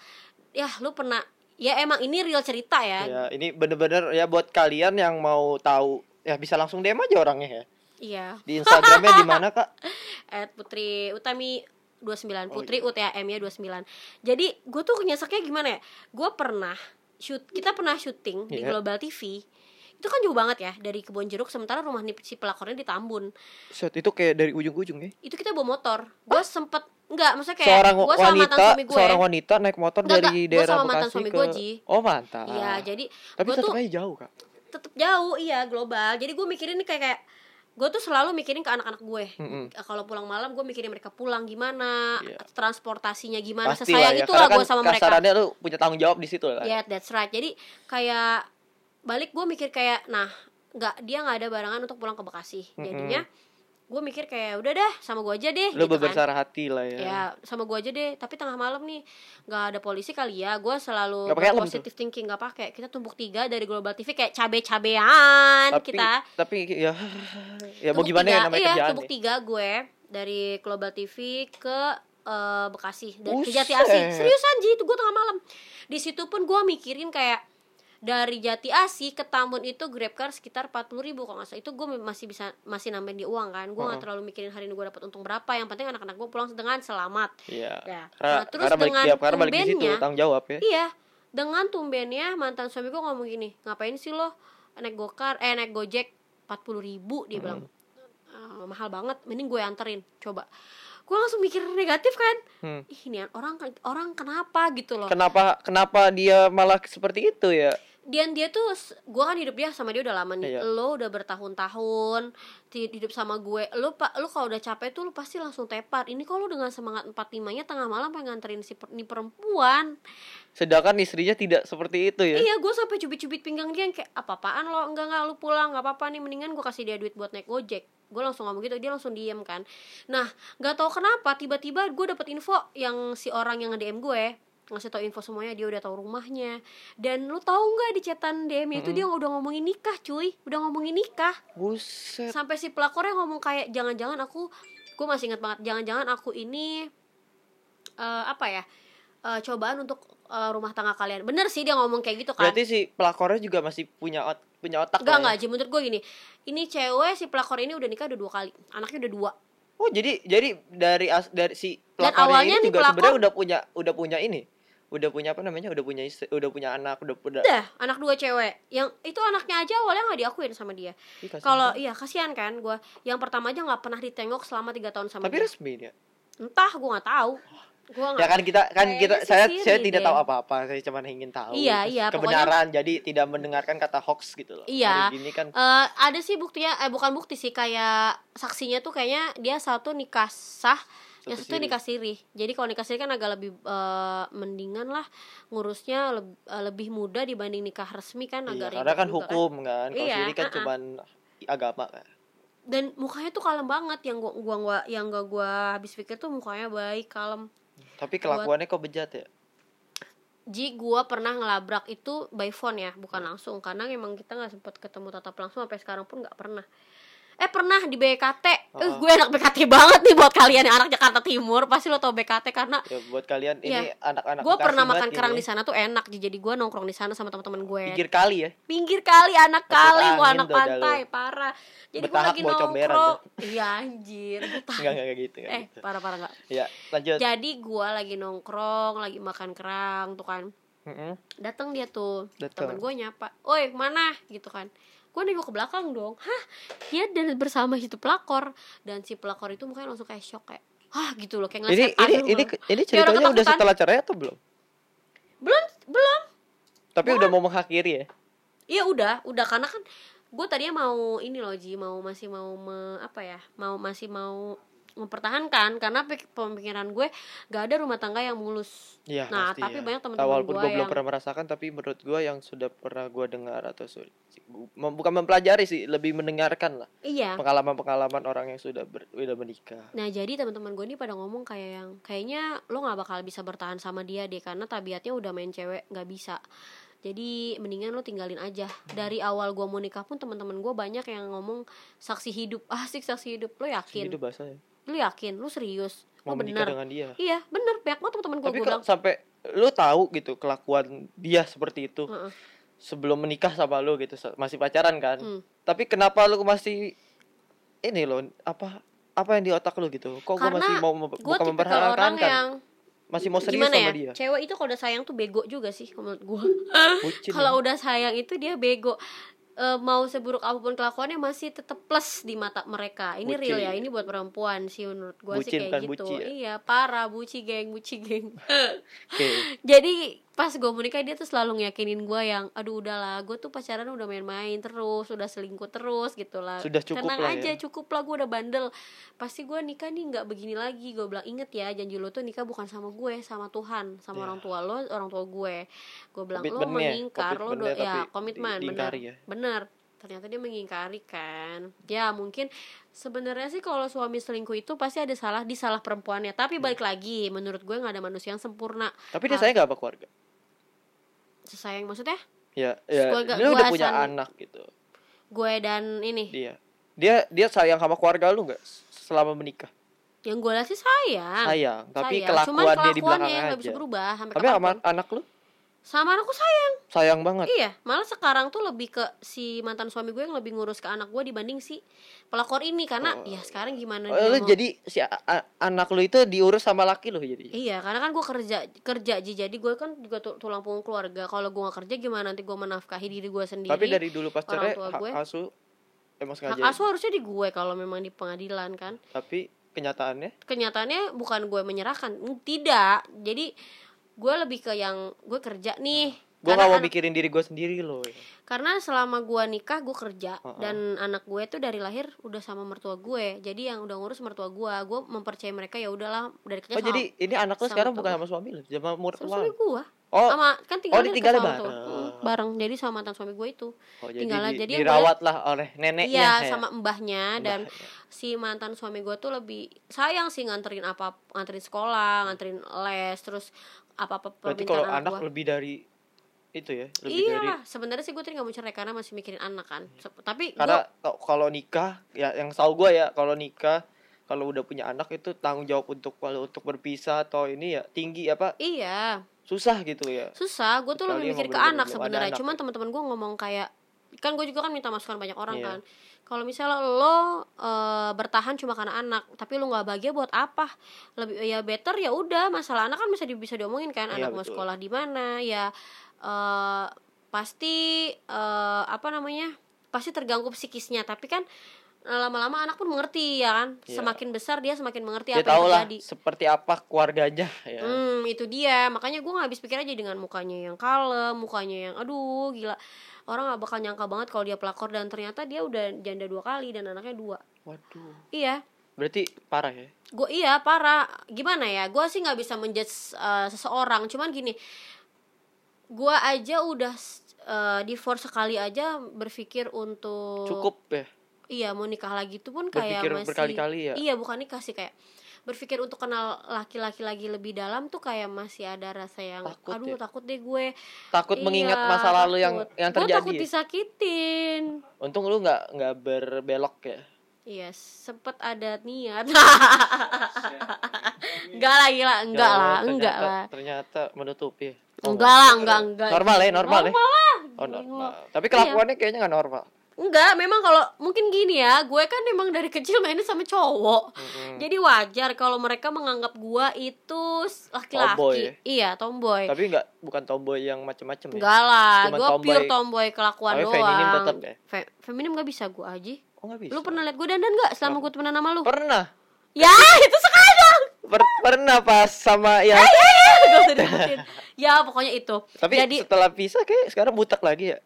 S1: Yah, lu pernah Ya emang ini real cerita ya.
S2: Ya, ini bener-bener ya buat kalian yang mau tahu ya bisa langsung DM aja orangnya ya.
S1: Iya.
S2: Di Instagramnya di mana kak?
S1: at Putri Utami 29
S2: Oh,
S1: Putri UTM ya 29 Jadi gue tuh nyeseknya gimana ya Gue pernah shoot kita pernah syuting di
S2: Iya.
S1: Global TV itu kan jauh banget ya dari kebun jeruk sementara rumah ni- si pelakornya di Tambun
S2: Set itu kayak dari ujung-ujung ya.
S1: itu kita bawa motor gue sempet nggak maksudnya kayak
S2: seorang
S1: gue sama mantan
S2: wanita,
S1: suami ya. gue
S2: seorang wanita naik motor
S1: Nggak,
S2: dari
S1: nggak. Gua
S2: daerah
S1: sama mantan
S2: Bekasi
S1: suami
S2: ke
S1: gua, Ji.
S2: Oh, mantan.
S1: iya jadi
S2: Tapi
S1: gue
S2: tetap
S1: tuh
S2: aja jauh, Kak.
S1: tetep jauh iya global jadi gue mikirin nih kayak kayak gue tuh selalu mikirin ke anak-anak gue
S2: Mm-mm.
S1: kalau pulang malam gue mikirin mereka pulang gimana
S2: Hmm. Iya.
S1: transportasinya gimana
S2: Pastilah
S1: sesayang
S2: ya,
S1: itulah
S2: karena kan
S1: gue sama mereka Iya,
S2: Kasarannya lu punya tanggung jawab di situ lah.
S1: Yeah, that's right. Jadi kayak balik gue mikir kayak nah nggak dia nggak ada barangan untuk pulang ke Bekasi. Jadinya gue mikir kayak udah dah sama gue aja deh. gitu
S2: Lu
S1: kan.
S2: berbesar hati lah ya.
S1: Ya sama gue aja deh. Tapi tengah malam nih nggak ada polisi kali ya. Gue selalu
S2: Nggak pakai helm
S1: positive thinking nggak pakai. Kita tumbuk tiga dari Global TV kayak cabe-cabean
S2: Tapi
S1: kan kita.
S2: tapi ya ya mau
S1: Tumbuk
S2: gimana ya
S1: tiga-
S2: namanya
S1: iya,
S2: kerjaan.
S1: Tumbuk
S2: ya.
S1: tiga gue dari Global TV ke eh, Bekasi dari ke
S2: Buset.
S1: Jati Asih. Seriusan Ji, itu gue tengah malam. Di situ pun gue mikirin kayak dari Jati Asih ke Tambun itu grab car sekitar 40 ribu kalau nggak salah itu gue masih bisa masih nambahin di uang kan gue nggak
S2: Mm-mm.
S1: terlalu mikirin hari ini gue dapat untung berapa yang penting anak-anak gue pulang dengan selamat
S2: Iya.
S1: Ya.
S2: Karena,
S1: Nah, terus
S2: karena balik,
S1: dengan
S2: tiap karena balik di situ
S1: tumbennya-
S2: tanggung jawab ya.
S1: Iya, dengan tumbennya mantan suami gue ngomong gini, ngapain sih lo naik gokar, eh naik gojek 40 ribu dia bilang, "Eh,
S2: Hmm.
S1: mahal banget, mending gue anterin, coba. Gue langsung mikir negatif kan,
S2: Hmm.
S1: ih ini orang orang kenapa gitu loh.
S2: Kenapa kenapa dia malah seperti itu ya?
S1: Dan dia tuh, s- gue kan hidup dia sama dia udah lama nih,
S2: Iya.
S1: lo udah bertahun-tahun ti- hidup sama gue, lo pak, lo kalau udah capek tuh lo pasti langsung tepar. Ini kalau dengan semangat 45 nya tengah malam pengen nganterin si per- ini perempuan,
S2: Sedangkan istrinya tidak seperti itu ya.
S1: Iya, gue sampai cubit-cubit pinggang dia yang kayak apa-apaan lo enggak enggak lu pulang nggak apa-apa nih mendingan gue kasih dia duit buat naik gojek. Gue langsung ngomong gitu, dia langsung diem kan. Nah, nggak tahu kenapa tiba-tiba gue dapet info yang si orang yang nge-DM gue ya, ngasih tau info semuanya dia udah tahu rumahnya dan lu tahu nggak di chatan DM itu dia udah ngomongin nikah cuy udah ngomongin nikah
S2: Buset.
S1: sampai si pelakornya ngomong kayak jangan-jangan aku gue masih ingat banget jangan-jangan aku ini eh, apa ya eh, cobaan untuk eh, rumah tangga kalian bener sih dia ngomong kayak gitu kan
S2: Berarti si pelakornya juga masih punya ot- punya otak
S1: Enggak, enggak,
S2: lah ya.
S1: Ji. Menurut gue gini Ini cewek si pelakor ini udah nikah udah dua kali Anaknya udah dua
S2: Oh jadi jadi dari as, dari si
S1: Dan
S2: pelakor
S1: awalnya
S2: ini
S1: nih
S2: juga
S1: pelakor-
S2: sebenarnya udah punya udah punya ini udah punya apa namanya udah punya istri, udah punya anak udah udah
S1: Udah, anak dua cewek Yang itu anaknya aja awalnya gak diakuin sama dia
S2: Ih, kasihan.
S1: Kalau, iya kasihan kan gue Yang pertama aja gak pernah ditengok selama tiga tahun sama
S2: tapi
S1: dia
S2: resmi dia
S1: Entah, gue gak tahu Gua
S2: ya
S1: gak
S2: kan kita kan
S1: Kayaknya
S2: kita
S1: Nah, gitu sih
S2: saya
S1: siri
S2: saya tidak
S1: deh.
S2: tahu apa-apa saya cuma ingin tahu gitu.
S1: Iya, iya,
S2: kebenaran jadi tidak mendengarkan kata hoax gitu loh
S1: Iya.
S2: hari gini kan
S1: Eh, ada sih buktinya, eh bukan bukti sih kayak saksinya tuh kayaknya dia satu nikah sah, yang
S2: Satu
S1: satu
S2: siri.
S1: nikah siri. Jadi kalau nikah siri kan agak lebih eh, mendingan lah ngurusnya leb- eh, lebih mudah dibanding nikah resmi kan
S2: iya,
S1: agak
S2: karena
S1: ribet
S2: kan
S1: juga
S2: hukum kan kalau
S1: Iya,
S2: siri kan
S1: ah-ah.
S2: cuman agama kan
S1: Dan mukanya tuh kalem banget yang gua gua, gua yang gak gua habis pikir tuh mukanya baik, kalem.
S2: tapi kelakuannya kok bejat ya
S1: Ji gua pernah ngelabrak itu by phone ya, bukan langsung karena emang kita nggak sempat ketemu tatap langsung sampai sekarang pun nggak pernah. Eh pernah di BKT. Eh
S2: Oh.
S1: gue anak BKT banget nih buat kalian yang anak Jakarta Timur, pasti lo tau BKT karena
S2: Ya buat kalian ini anak-anak
S1: gue
S2: Bekasi
S1: Iya. pernah
S2: banget
S1: makan
S2: ini
S1: kerang
S2: ya.
S1: di sana tuh enak. Ji. Jadi gue nongkrong di sana sama teman-teman gue.
S2: pinggir kali ya.
S1: Pinggir kali anak
S2: Masuk
S1: kali, wah
S2: angin
S1: anak
S2: tuh dah
S1: pantai parah. Jadi gue
S2: Betahak
S1: lagi
S2: bawa comberan
S1: nongkrong. Iya anjir. betah.
S2: Enggak enggak gitu ya.
S1: eh parah-parah nggak.
S2: Ya, lanjut.
S1: Jadi gue lagi nongkrong, lagi makan kerang tuh kan.
S2: Mm-mm.
S1: datang dia tuh
S2: Datang.
S1: temen gue nyapa oi mana gitu kan gue nengok ke belakang dong hah dia dan bersama itu pelakor dan si pelakor itu mukanya langsung kayak shock kayak hah gitu loh kayak
S2: Ini
S1: ngeliat
S2: ini
S1: aduh,
S2: ini
S1: belum.
S2: ini
S1: Kayak orang
S2: ceritanya udah
S1: ketakutan.
S2: setelah cerai atau belum?
S1: belum belum
S2: Tapi udah mau mengakhiri ya.
S1: iya udah udah karena kan gue tadinya mau ini loh ji mau masih mau me- apa ya mau masih mau mempertahankan karena pik- pemikiran gue gak ada rumah tangga yang mulus
S2: Iya,
S1: Nah,
S2: pasti
S1: tapi
S2: ya.
S1: banyak teman-teman
S2: Nah, Walaupun
S1: gua
S2: gue belum
S1: yang-
S2: pernah merasakan tapi menurut gue yang sudah pernah gue dengar atau su- mem- bukan mempelajari sih, lebih mendengarkan lah
S1: iya
S2: pengalaman-pengalaman orang yang sudah ber, udah menikah.
S1: Nah jadi teman-teman gue ini pada ngomong kayak yang kayaknya lo nggak bakal bisa bertahan sama dia deh karena tabiatnya udah main cewek nggak bisa. Jadi mendingan lo tinggalin aja. Dari awal gue mau nikah pun teman-teman gue banyak yang ngomong saksi hidup asik saksi hidup lo
S2: Sini
S1: yakin
S2: itu Gitu bahasanya.
S1: lo yakin lo serius
S2: Mau
S1: lo
S2: menikah
S1: bener
S2: dengan dia.
S1: iya bener banyak banget teman-teman gue
S2: Tapi
S1: gue
S2: kalau
S1: bilang
S2: sampai lu tahu gitu kelakuan dia seperti itu
S1: Heeh.
S2: sebelum menikah sama lu gitu se- masih pacaran kan.
S1: Hmm.
S2: Tapi kenapa lu masih ini lo apa apa yang di otak lu gitu? Kok gue
S1: Karena
S2: masih mau mem-
S1: gue
S2: bukan
S1: tipikal
S2: mempertahankan
S1: orang
S2: kan?
S1: yang
S2: Masih mau serius
S1: gimana
S2: sama
S1: ya
S2: dia.
S1: cewek itu kalau udah sayang tuh bego juga sih menurut gue
S2: Bucin. ya.
S1: kalau udah sayang itu dia bego Eh, mau seburuk apapun kelakuannya masih tetap plus di mata mereka ini
S2: Bucin.
S1: real ya ini buat perempuan sih menurut gue sih
S2: Bucin,
S1: kayak
S2: bukan
S1: gitu
S2: buci ya?
S1: iya parah buci geng buci geng
S2: Oke.
S1: jadi pas gue menikah dia tuh selalu ngeyakinin gue yang aduh udahlah gue tuh pacaran udah main-main terus udah selingkuh terus gitu lah
S2: Sudah cukup
S1: tenang
S2: lah ya.
S1: aja cukup lah gue udah bandel pasti gue nikah nih nggak begini lagi gue bilang inget ya janji lo tuh nikah bukan sama gue sama Tuhan sama
S2: Ya.
S1: orang tua lo orang tua gue gue bilang lo
S2: Komitmennya,
S1: mengingkar lo do-
S2: komitmennya
S1: ya
S2: tapi
S1: komitmen
S2: di-
S1: benar
S2: diingkari ya.
S1: benar ternyata dia mengingkari kan ya mungkin sebenarnya sih kalau suami selingkuh itu pasti ada salah di salah perempuannya tapi balik lagi menurut gue nggak ada manusia yang sempurna
S2: Tapi dia sayang gak sama keluarga?
S1: sesayang maksudnya
S2: Ya, ya.
S1: Keluarga
S2: Lu udah
S1: gua
S2: punya
S1: san-
S2: anak gitu.
S1: gue dan ini
S2: Dia. Dia dia sayang sama keluarga lu nggak selama menikah?
S1: yang gue lihat sih sayang
S2: Sayang,
S1: Ah,
S2: tapi
S1: Sayang. Cuman
S2: kelakuannya di belakang
S1: kelakuannya nggak
S2: aja.
S1: bisa berubah sampai
S2: Tapi sama
S1: kapanpun.
S2: anak lu
S1: sama anakku sayang
S2: sayang banget.
S1: iya malah sekarang tuh lebih ke si mantan suami gue yang lebih ngurus ke anak gue dibanding si pelakor ini karena ya sekarang gimana
S2: Oh,
S1: dia
S2: lu
S1: mau-
S2: jadi si a- a- anak lu itu diurus sama laki lu jadi.
S1: Iya, karena kan gue kerja kerja Ji. jadi gue kan juga tu- tulang punggung keluarga. Kalau gue gak kerja gimana nanti gue menafkahi diri gue sendiri?
S2: Tapi dari dulu pas
S1: orang
S2: cerai
S1: tua
S2: hak
S1: gue.
S2: asuh emang
S1: hak
S2: sengaja.
S1: asuh harusnya di gue kalau memang di pengadilan kan.
S2: Tapi kenyataannya
S1: Kenyataannya bukan gue menyerahkan, Mm, tidak. Jadi gue lebih ke yang gue kerja nih.
S2: gue
S1: Karena
S2: gak Hmm. mau
S1: kan-
S2: mikirin diri gue sendiri loh.
S1: karena selama gue nikah gue kerja
S2: Heeh.
S1: dan anak gue tuh dari lahir udah sama mertua gue jadi yang udah ngurus mertua gue gue mempercayai mereka ya udahlah dari kecil
S2: Oh
S1: sama,
S2: jadi ini anak lu
S1: sama
S2: sekarang
S1: mertua
S2: bukan sama suami lu, sama
S1: sama
S2: mertua.
S1: suami
S2: lu?
S1: gue
S2: Oh,
S1: sama kan tinggal
S2: ditinggalnya
S1: tuh
S2: bareng.
S1: Mm, bareng jadi sama mantan suami gue itu
S2: oh jadi,
S1: tinggal lah.
S2: di-
S1: Jadi yang
S2: dirawat lah oleh neneknya.
S1: iya
S2: ya.
S1: sama mbahnya dan
S2: Mbahnya.
S1: si mantan suami gue tuh lebih sayang sih nganterin apa nganterin sekolah nganterin les terus apa apa
S2: Berarti kalau
S1: permintaan
S2: anak
S1: anak gue
S2: lebih dari itu ya, lebih
S1: iya
S2: dari
S1: lah sebenarnya sih gue tadi nggak mau cerai karena masih mikirin anak kan Se- tapi
S2: karena
S1: gue
S2: kalau- kalau nikah ya yang tahu gue ya kalau nikah kalau udah punya anak itu tanggung jawab untuk kalau untuk berpisah atau ini ya tinggi apa
S1: iya
S2: susah gitu ya
S1: susah gue tuh
S2: Kecuali
S1: lebih
S2: emang
S1: mikir ke
S2: bener-bener
S1: anak
S2: belum ada
S1: sebenarnya
S2: anak
S1: cuman
S2: ya.
S1: teman-teman gue ngomong kayak kan gue juga kan minta masukan banyak orang
S2: Iya.
S1: kan kalau misalnya lo eh, bertahan cuma karena anak tapi lo nggak bahagia buat apa lebih ya better ya udah masalah anak kan bisa di- bisa diomongin kan
S2: Iya,
S1: anak mau
S2: betul.
S1: sekolah di mana ya eh, pasti eh, apa namanya pasti terganggu psikisnya tapi kan eh, lama-lama anak pun mengerti ya kan
S2: Iya.
S1: semakin besar dia semakin mengerti
S2: dia
S1: Iya, apa yang
S2: tahu Ya lah
S1: terjadi
S2: seperti apa keluarganya ya
S1: Hmm, itu dia. Makanya gue nggak habis pikir aja dengan mukanya yang kalem, mukanya yang aduh gila. Orang nggak bakal nyangka banget kalau dia pelakor dan ternyata dia udah janda dua kali dan anaknya dua.
S2: waduh
S1: Iya,
S2: berarti parah ya
S1: gue iya parah. Gimana ya? Gue sih nggak bisa menjudge eh, seseorang. Cuman gini, gue aja udah eh, divorce sekali aja berpikir untuk
S2: cukup ya
S1: iya mau nikah lagi itu pun Oh. kayak
S2: Berpikir
S1: masih
S2: berkali-kali ya?
S1: iya bukan nikah sih kayak berpikir untuk kenal laki-laki lagi lebih dalam tuh kayak masih ada rasa yang
S2: Takut
S1: aduh
S2: ya?
S1: takut deh gue
S2: takut
S1: Iya,
S2: mengingat masa lalu yang
S1: takut.
S2: yang
S1: Gue
S2: terjadi ya?
S1: takut disakitin
S2: untung lu nggak nggak berbelok ya
S1: Iya, sempet ada niat. enggak lah, gila, enggak
S2: Ya
S1: lah,
S2: Allah,
S1: enggak
S2: ternyata-
S1: lah.
S2: Ternyata menutupi. Oh,
S1: Enggak lah, enggak, enggak.
S2: Normal ya, normal ya.
S1: lah. Iya.
S2: Oh, normal. Tapi kelakuannya kayaknya nggak normal.
S1: Enggak, memang kalau mungkin gini ya, gue kan memang dari kecil mainnya sama cowok.
S2: Mm-mm.
S1: Jadi wajar kalau mereka menganggap gue itu s-
S2: Tomboy ya?
S1: laki-laki. Iya, tomboy.
S2: Tapi nggak bukan tomboy yang macem-macem ya.
S1: Enggak lah,
S2: Cuman
S1: gue
S2: tomboy.
S1: pure tomboy kelakuan
S2: Tapi
S1: doang.
S2: feminim tetap ya?
S1: Fe- feminim gak bisa gue aja.
S2: Oh, nggak bisa. Oh.
S1: Lu pernah liat gue dandan gak selama gue temenan sama lu?
S2: Pernah.
S1: ya, itu sekarang.
S2: Per- pernah pas sama ya.
S1: Gak usah disebutin. ya, pokoknya itu.
S2: Tapi
S1: Jadi
S2: setelah pisah kayak sekarang butak lagi ya.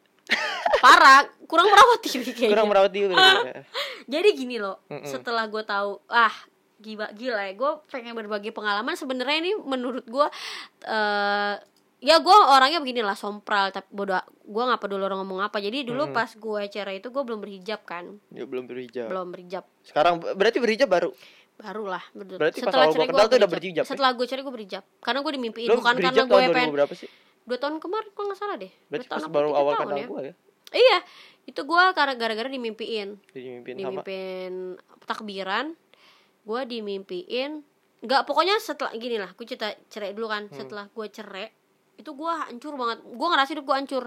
S1: parah, kurang merawat diri kayaknya.
S2: Kurang merawat ya? diri.
S1: Ah.
S2: kayaknya.
S1: Jadi gini loh,
S2: Mm-mm.
S1: setelah gue tahu ah gila gila ya, gue pengen berbagi pengalaman sebenarnya ini menurut gue eh ya gue orangnya begini lah sompral tapi bodoh gue nggak peduli orang ngomong apa jadi dulu pas gue acara itu gue belum berhijab kan
S2: Ya, belum berhijab.
S1: belum berhijab
S2: Sekarang berarti berhijab baru.
S1: barulah ber-
S2: Berarti pas awal
S1: cerai gua
S2: gua kenal tuh udah berhijab, ya?
S1: setelah gue cerai gue berhijab karena gue dimimpiin
S2: Lu
S1: bukan kan, karena
S2: berhijab
S1: gue
S2: tahun 2000
S1: pengen
S2: berapa sih?
S1: dua tahun kemarin kalau nggak salah deh Dua
S2: Berarti
S1: tahun
S2: pas
S1: apa
S2: baru
S1: tiga
S2: awal
S1: tahun
S2: kenal
S1: ya.
S2: gue ya.
S1: iya itu gue karena gara-gara dimimpiin
S2: Dimimpin sama
S1: dimimpin takbiran gue dimimpiin nggak pokoknya setelah gini lah gue cerita cerai dulu
S2: Hmm.
S1: kan setelah gue cerai itu gue hancur banget gue ngerasa hidup gue hancur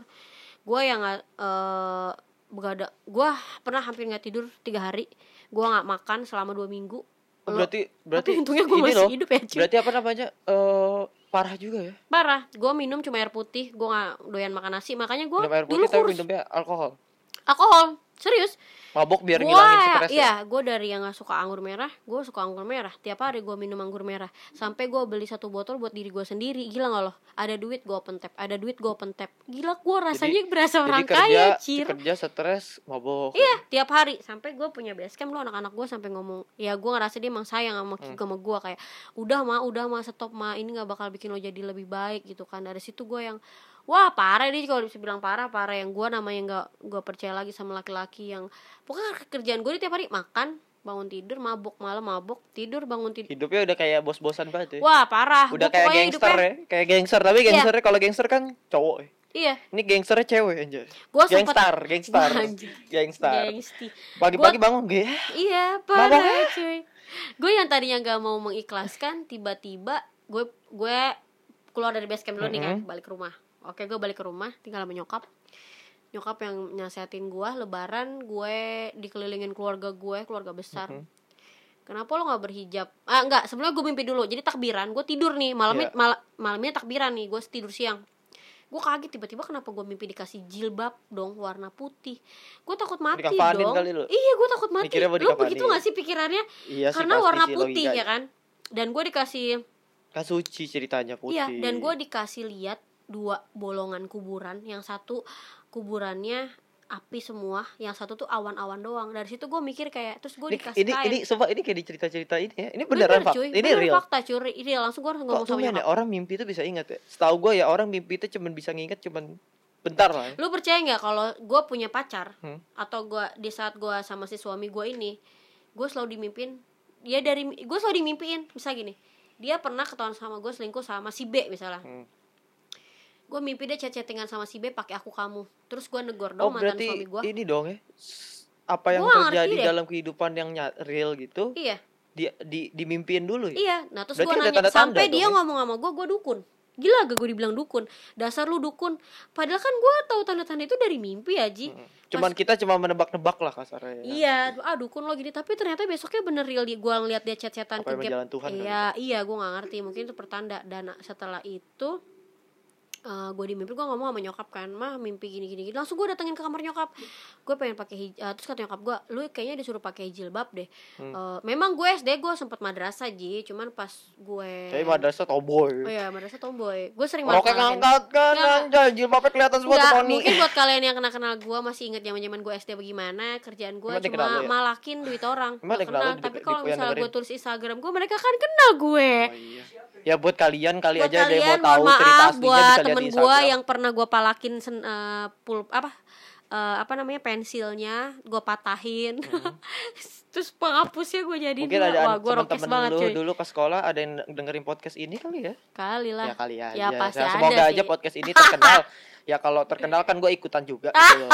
S1: gue yang nggak eh, begadang gue pernah hampir nggak tidur tiga hari gue nggak makan selama dua minggu
S2: Oh, berarti
S1: Tapi
S2: berarti
S1: untungnya gua
S2: ini
S1: masih
S2: loh,
S1: hidup ya, cuy.
S2: Berarti apa namanya? eh parah juga ya.
S1: parah gue minum cuma air putih gue nggak doyan makan nasi makanya gue
S2: Minum air
S1: dulu
S2: putih tapi
S1: kurus
S2: minumnya alkohol.
S1: alkohol serius
S2: Mabok biar
S1: Gua
S2: ngilangin stres. ya?
S1: iya gue dari yang nggak suka anggur merah gue suka anggur merah tiap hari gue minum anggur merah sampai gue beli satu botol buat diri gue sendiri gila nggak loh ada duit gue open tap ada duit gue open tap gila gue rasanya berasa
S2: Jadi
S1: orang
S2: kerja,
S1: kaya cir
S2: kerja stres, mabok.
S1: Iya, tiap hari sampai gue punya basecamp lo anak-anak gue sampai ngomong, ya gue ngerasa dia emang sayang sama
S2: Hmm.
S1: ki- sama gue kayak, udah mah, udah mah, stop mah, ini nggak bakal bikin lo jadi lebih baik gitu kan. Dari situ gue yang, wah parah dia kalau bisa bilang parah parah yang gue namanya nggak gue percaya lagi sama laki-laki yang pokoknya kerjaan gue dia tiap hari makan, bangun tidur, mabok malam mabok, tidur bangun tidur.
S2: Hidupnya udah kayak bos-bosan banget ya.
S1: Wah parah,
S2: udah
S1: Gua
S2: kayak
S1: pokoknya
S2: gangster
S1: hidupnya-
S2: ya. Kayak gangster, tapi
S1: Iya.
S2: gangsternya kalau gangster kan cowok. ya.
S1: Iya,
S2: Ini gangsternya cewek anjir.
S1: gue sempat
S2: Gangstar, gangstar.
S1: Anjir.
S2: Gangstar.
S1: gangsti.
S2: Pagi-pagi bangun gue.
S1: Iya, parah cuy. Gue yang tadinya gak mau mengikhlaskan, tiba-tiba gue gue keluar dari base camp dulu nih kan, balik ke rumah. Oke, gue balik ke rumah, tinggal sama nyokap. Nyokap yang nyasehatin gue, lebaran gue dikelilingin keluarga gue, keluarga besar. Kenapa lo gak berhijab? Ah, enggak, sebelumnya gue mimpi dulu. Jadi takbiran, gue tidur nih, malamnya
S2: Iya.
S1: mal- malamnya takbiran nih, gue tidur siang. Gue kaget tiba-tiba kenapa gue mimpi dikasih jilbab dong warna putih. Gue takut mati
S2: Dikafanin
S1: dong.
S2: kali lu.
S1: Iya, gue takut mati.
S2: Mikirnya mau
S1: Lu
S2: dikafanin.
S1: begitu gak sih pikirannya?
S2: Iya sih,
S1: Karena
S2: pasti
S1: warna
S2: sih,
S1: putih
S2: logikanya.
S1: ya kan. Dan gue dikasih
S2: Kan suci ceritanya putih.
S1: iya, dan gue dikasih lihat dua bolongan kuburan. Yang satu kuburannya api semua, yang satu tuh awan-awan doang. Dari situ gue mikir kayak terus gue
S2: ini,
S1: dikasih
S2: ini,
S1: kain.
S2: ini, sumpah, ini kayak di cerita-cerita ini ya. Ini beneran, Pak.
S1: cuy.
S2: Ini
S1: Bener
S2: real.
S1: fakta cuy, real. Langsung gue ngomong
S2: Kok tuh
S1: sama
S2: ya,
S1: nyokap.
S2: orang mimpi itu bisa ingat ya? Setahu gue ya orang mimpi itu cuman bisa nginget cuman bentar lah. Ya.
S1: Lu percaya nggak kalau gue punya pacar
S2: Hmm.
S1: atau gue di saat gue sama si suami gue ini, gue selalu dimimpin. Dia dari gue selalu dimimpiin. Misal gini, dia pernah ketahuan sama gue selingkuh sama si B misalnya.
S2: Hmm.
S1: Gue mimpi dia chat-chattingan sama si B pakai aku kamu. Terus gue negor dong
S2: Oh
S1: mantan suami
S2: berarti
S1: gue.
S2: ini dong ya s- apa
S1: Gua
S2: yang
S1: nggak
S2: terjadi
S1: ngerti deh.
S2: dalam kehidupan yang nyat, real gitu
S1: Iya,
S2: di, di dimimpiin dulu ya.
S1: iya. Nah terus gue
S2: Berarti ada
S1: nanya
S2: tanda-tanda
S1: sampai
S2: dong
S1: dia
S2: ya?
S1: ngomong sama gue, gue dukun. Gila gak gue dibilang dukun Dasar lu dukun Padahal kan gue tahu tanda-tanda itu dari mimpi ya Ji
S2: Cuman kita cuma menebak-nebak lah kasarnya. ya.
S1: Iya, ah dukun lo gini tapi ternyata besoknya bener real di gua ngeliat dia chat-chatan
S2: Apa kan?
S1: ke
S2: emang
S1: gap.
S2: jalan Tuhan kali
S1: iya, iya gua nggak ngerti, mungkin itu pertanda dan setelah itu eh gue di mimpi gue ngomong sama nyokap kan mah mimpi gini gini, gini. langsung gue datengin ke kamar nyokap gue pengen pakai hij- eh, terus kata nyokap gue lu kayaknya disuruh pakai jilbab deh
S2: Hmm.
S1: Eh, memang gue sd gue sempet madrasah ji cuman pas gue
S2: Tapi madrasah
S1: oh
S2: tomboy.
S1: iya madrasah tomboy gue sering
S2: Roknya
S1: manfaatin.
S2: ngangkat kan
S1: Nggak.
S2: anjay jilbabnya kelihatan semua tuh
S1: Nggak,
S2: Tony.
S1: mungkin buat kalian yang kenal-kenal gue masih ingat zaman-zaman gue SD bagaimana kerjaan gue
S2: Emang dia
S1: cuma
S2: kenal lu ya?
S1: malakin duit orang
S2: Emang
S1: Nggak
S2: dia kenal
S1: kenal
S2: lu di-
S1: tapi
S2: di-
S1: kalau
S2: yang
S1: misalnya gue
S2: dengerin?
S1: tulis Instagram gue mereka kan kenal gue
S2: Oh, iya. Ya buat kalian kali
S1: buat
S2: aja ada
S1: kalian
S2: yang mau tahu
S1: mohon
S2: cerita
S1: maaf
S2: aslinya
S1: buat
S2: bisa lihat
S1: temen
S2: di
S1: gue
S2: Instagram.
S1: yang pernah gue palakin sen, eh, pulp apa eh, apa namanya pensilnya gue patahin terus penghapusnya gue jadi
S2: Hmm. Mungkin ada
S1: wah gue rokes
S2: teman-teman
S1: banget
S2: lu
S1: cuy
S2: dulu ke sekolah ada yang dengerin podcast ini kali ya?
S1: kali lah
S2: Ya kali aja.
S1: Ya, pasti ada
S2: Semoga aja
S1: sih.
S2: podcast ini terkenal. ya kalau terkenal kan gue ikutan juga gitu loh.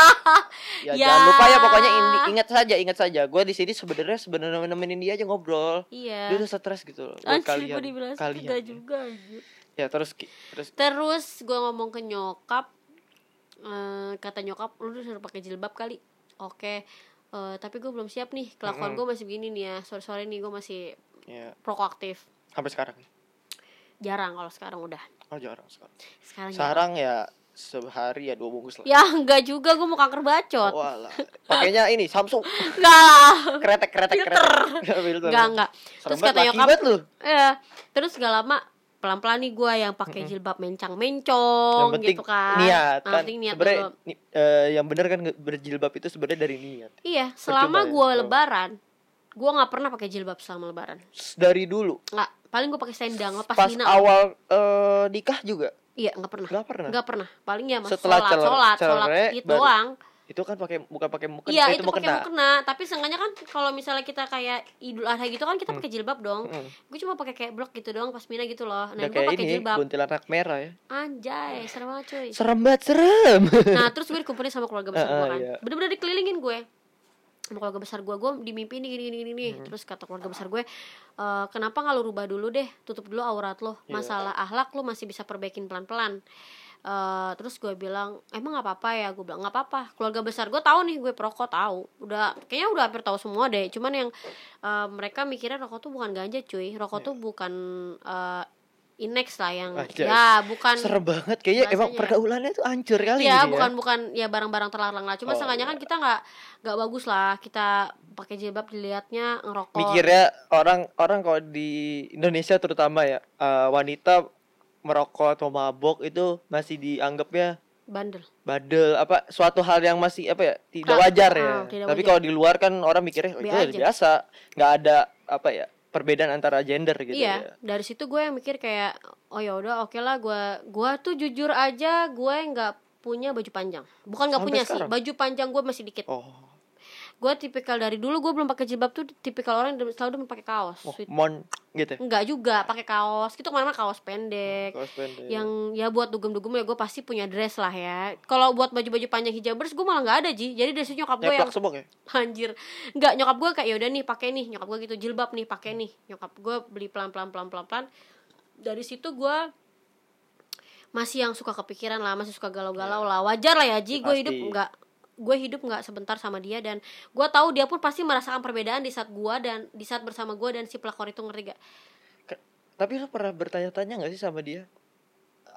S2: Ya,
S1: Ya.
S2: jangan lupa ya pokoknya ini ingat saja, ingat saja. Gue di sini sebenarnya sebenarnya nemenin dia aja ngobrol.
S1: iya
S2: Dia udah stres gitu loh. Buat
S1: Anjir gue dibilang
S2: kalian.
S1: ketiga
S2: Kalian.
S1: juga anjir.
S2: Ya terus ki- terus
S1: Terus gue ngomong ke nyokap eh, Kata nyokap lu disuruh pakai jilbab kali Oke Eh, Tapi gue belum siap nih Kelakuan
S2: Mm-mm.
S1: gue masih begini nih ya Sore-sore nih gue masih
S2: ya
S1: proaktif
S2: sampai sekarang.
S1: Jarang kalau sekarang udah
S2: Oh jarang sekarang.
S1: Sekarang jarang.
S2: Sekarang ya sehari ya dua bungkus lah.
S1: Ya enggak juga gue mau kanker bacot
S2: Walah. Pakainya ini Samsung
S1: Enggak lah
S2: kretek kretek kretek. Ya, filter.
S1: Enggak enggak
S2: Serem
S1: Terus
S2: banget,
S1: kata
S2: laki
S1: nyokap
S2: banget lu.
S1: eh, Terus gak lama pelan-pelan nih gue yang pakai jilbab mencang-mencong
S2: yang penting
S1: gitu kan
S2: niat
S1: Yang
S2: kan
S1: penting niat
S2: sebenarnya
S1: dulu.
S2: ni- eh, yang benar kan nge- berjilbab itu sebenarnya dari niat
S1: Iya, selama
S2: ya.
S1: gue
S2: Oh.
S1: lebaran, gue nggak pernah pakai jilbab selama lebaran.
S2: S- dari dulu
S1: Nggak, paling gue pakai selendang lepas
S2: pas
S1: dina.
S2: awal eh, nikah juga
S1: Iya, nggak pernah.
S2: nggak pernah
S1: Nggak pernah. Paling ya mas
S2: Setelah
S1: sholat,
S2: celer-
S1: sholat, sholat
S2: celere,
S1: gitu
S2: baru-
S1: doang.
S2: itu kan pakai bukan pakai mukena
S1: Iya,
S2: itu,
S1: itu pakai
S2: mukena
S1: mukena. Tapi seenggaknya kan kalau misalnya kita kayak Idul Adha gitu kan kita pakai jilbab dong.
S2: Mm.
S1: Gue cuma pakai kayak blok gitu doang pas mina gitu loh. Nah, gue
S2: Udah kayak
S1: Nah, pakai
S2: ini
S1: jilbab. Iya.
S2: kuntilanak merah ya
S1: Anjay, serem banget cuy.
S2: serem banget serem
S1: Nah, terus gue dikumpulin sama keluarga besar gue
S2: Ah, ah,
S1: kan.
S2: iya.
S1: Bener-bener dikelilingin gue. Sama keluarga besar gue, gue dimimpi ini gini gini gini.
S2: Hmm.
S1: nih. Terus kata keluarga besar gue, "E, kenapa nggak lu rubah dulu deh, tutup dulu aurat lo.
S2: Iya.
S1: Masalah ahlak lo masih bisa perbaikin pelan-pelan. E, terus gue bilang emang nggak apa-apa ya gue bilang nggak apa-apa keluarga besar gue tahu nih gue perokok tahu udah kayaknya udah hampir tahu semua deh cuman yang e, mereka mikirnya rokok tuh bukan ganja cuy rokok tuh bukan e, inex lah yang
S2: Iya. Anjay.
S1: ya bukan
S2: serem banget kayaknya emang
S1: Bahasanya.
S2: pergaulannya tuh hancur kali
S1: ya
S2: ini
S1: bukan bukan ya barang-barang terlarang lah cuma
S2: gitu Oh,
S1: sengaja kan kita nggak nggak bagus lah kita pakai jilbab dilihatnya ngerokok
S2: mikirnya orang orang kalau di Indonesia terutama ya eh, wanita merokok atau mabok itu masih dianggapnya
S1: bandel
S2: badel apa suatu hal yang masih apa ya tidak
S1: Ah,
S2: wajar ya.
S1: ah, tidak
S2: Tapi
S1: wajar.
S2: kalau di luar kan orang mikirnya "Oh, itu
S1: Be aja."
S2: biasa, nggak ada apa ya perbedaan antara gender gitu
S1: iya
S2: ya.
S1: dari situ gue yang mikir kayak oh ya udah oke lah gue gue tuh jujur aja gue nggak punya baju panjang bukan nggak
S2: Sampai
S1: punya
S2: sekarang?
S1: sih baju panjang gue masih dikit
S2: Oh,
S1: gue tipikal dari dulu gue belum pakai jilbab tuh tipikal orang yang selalu demen pakai kaos
S2: oh,
S1: Sweet.
S2: mon gitu. ya.
S1: enggak juga pakai kaos gitu kemana-mana kaos pendek
S2: Kaos pendek.
S1: yang ya buat dugem-dugem ya gue pasti punya dress lah ya kalau buat baju-baju panjang hijabers gue malah nggak ada ji jadi dari situ nyokap gue yang
S2: nyeplak semua ya.
S1: anjir nggak nyokap gue kayak yaudah nih pakai nih nyokap gue gitu jilbab nih pakai nih nyokap gue beli pelan pelan pelan pelan pelan dari situ gue masih yang suka kepikiran lah masih suka galau galau lah wajar lah ya ji
S2: Ya,
S1: gue
S2: pasti.
S1: hidup nggak gue hidup nggak sebentar sama dia dan gue tahu dia pun pasti merasakan perbedaan di saat gue dan di saat bersama gue dan si pelakor itu ngerti gak
S2: Ke- Tapi lu pernah bertanya-tanya nggak sih sama dia?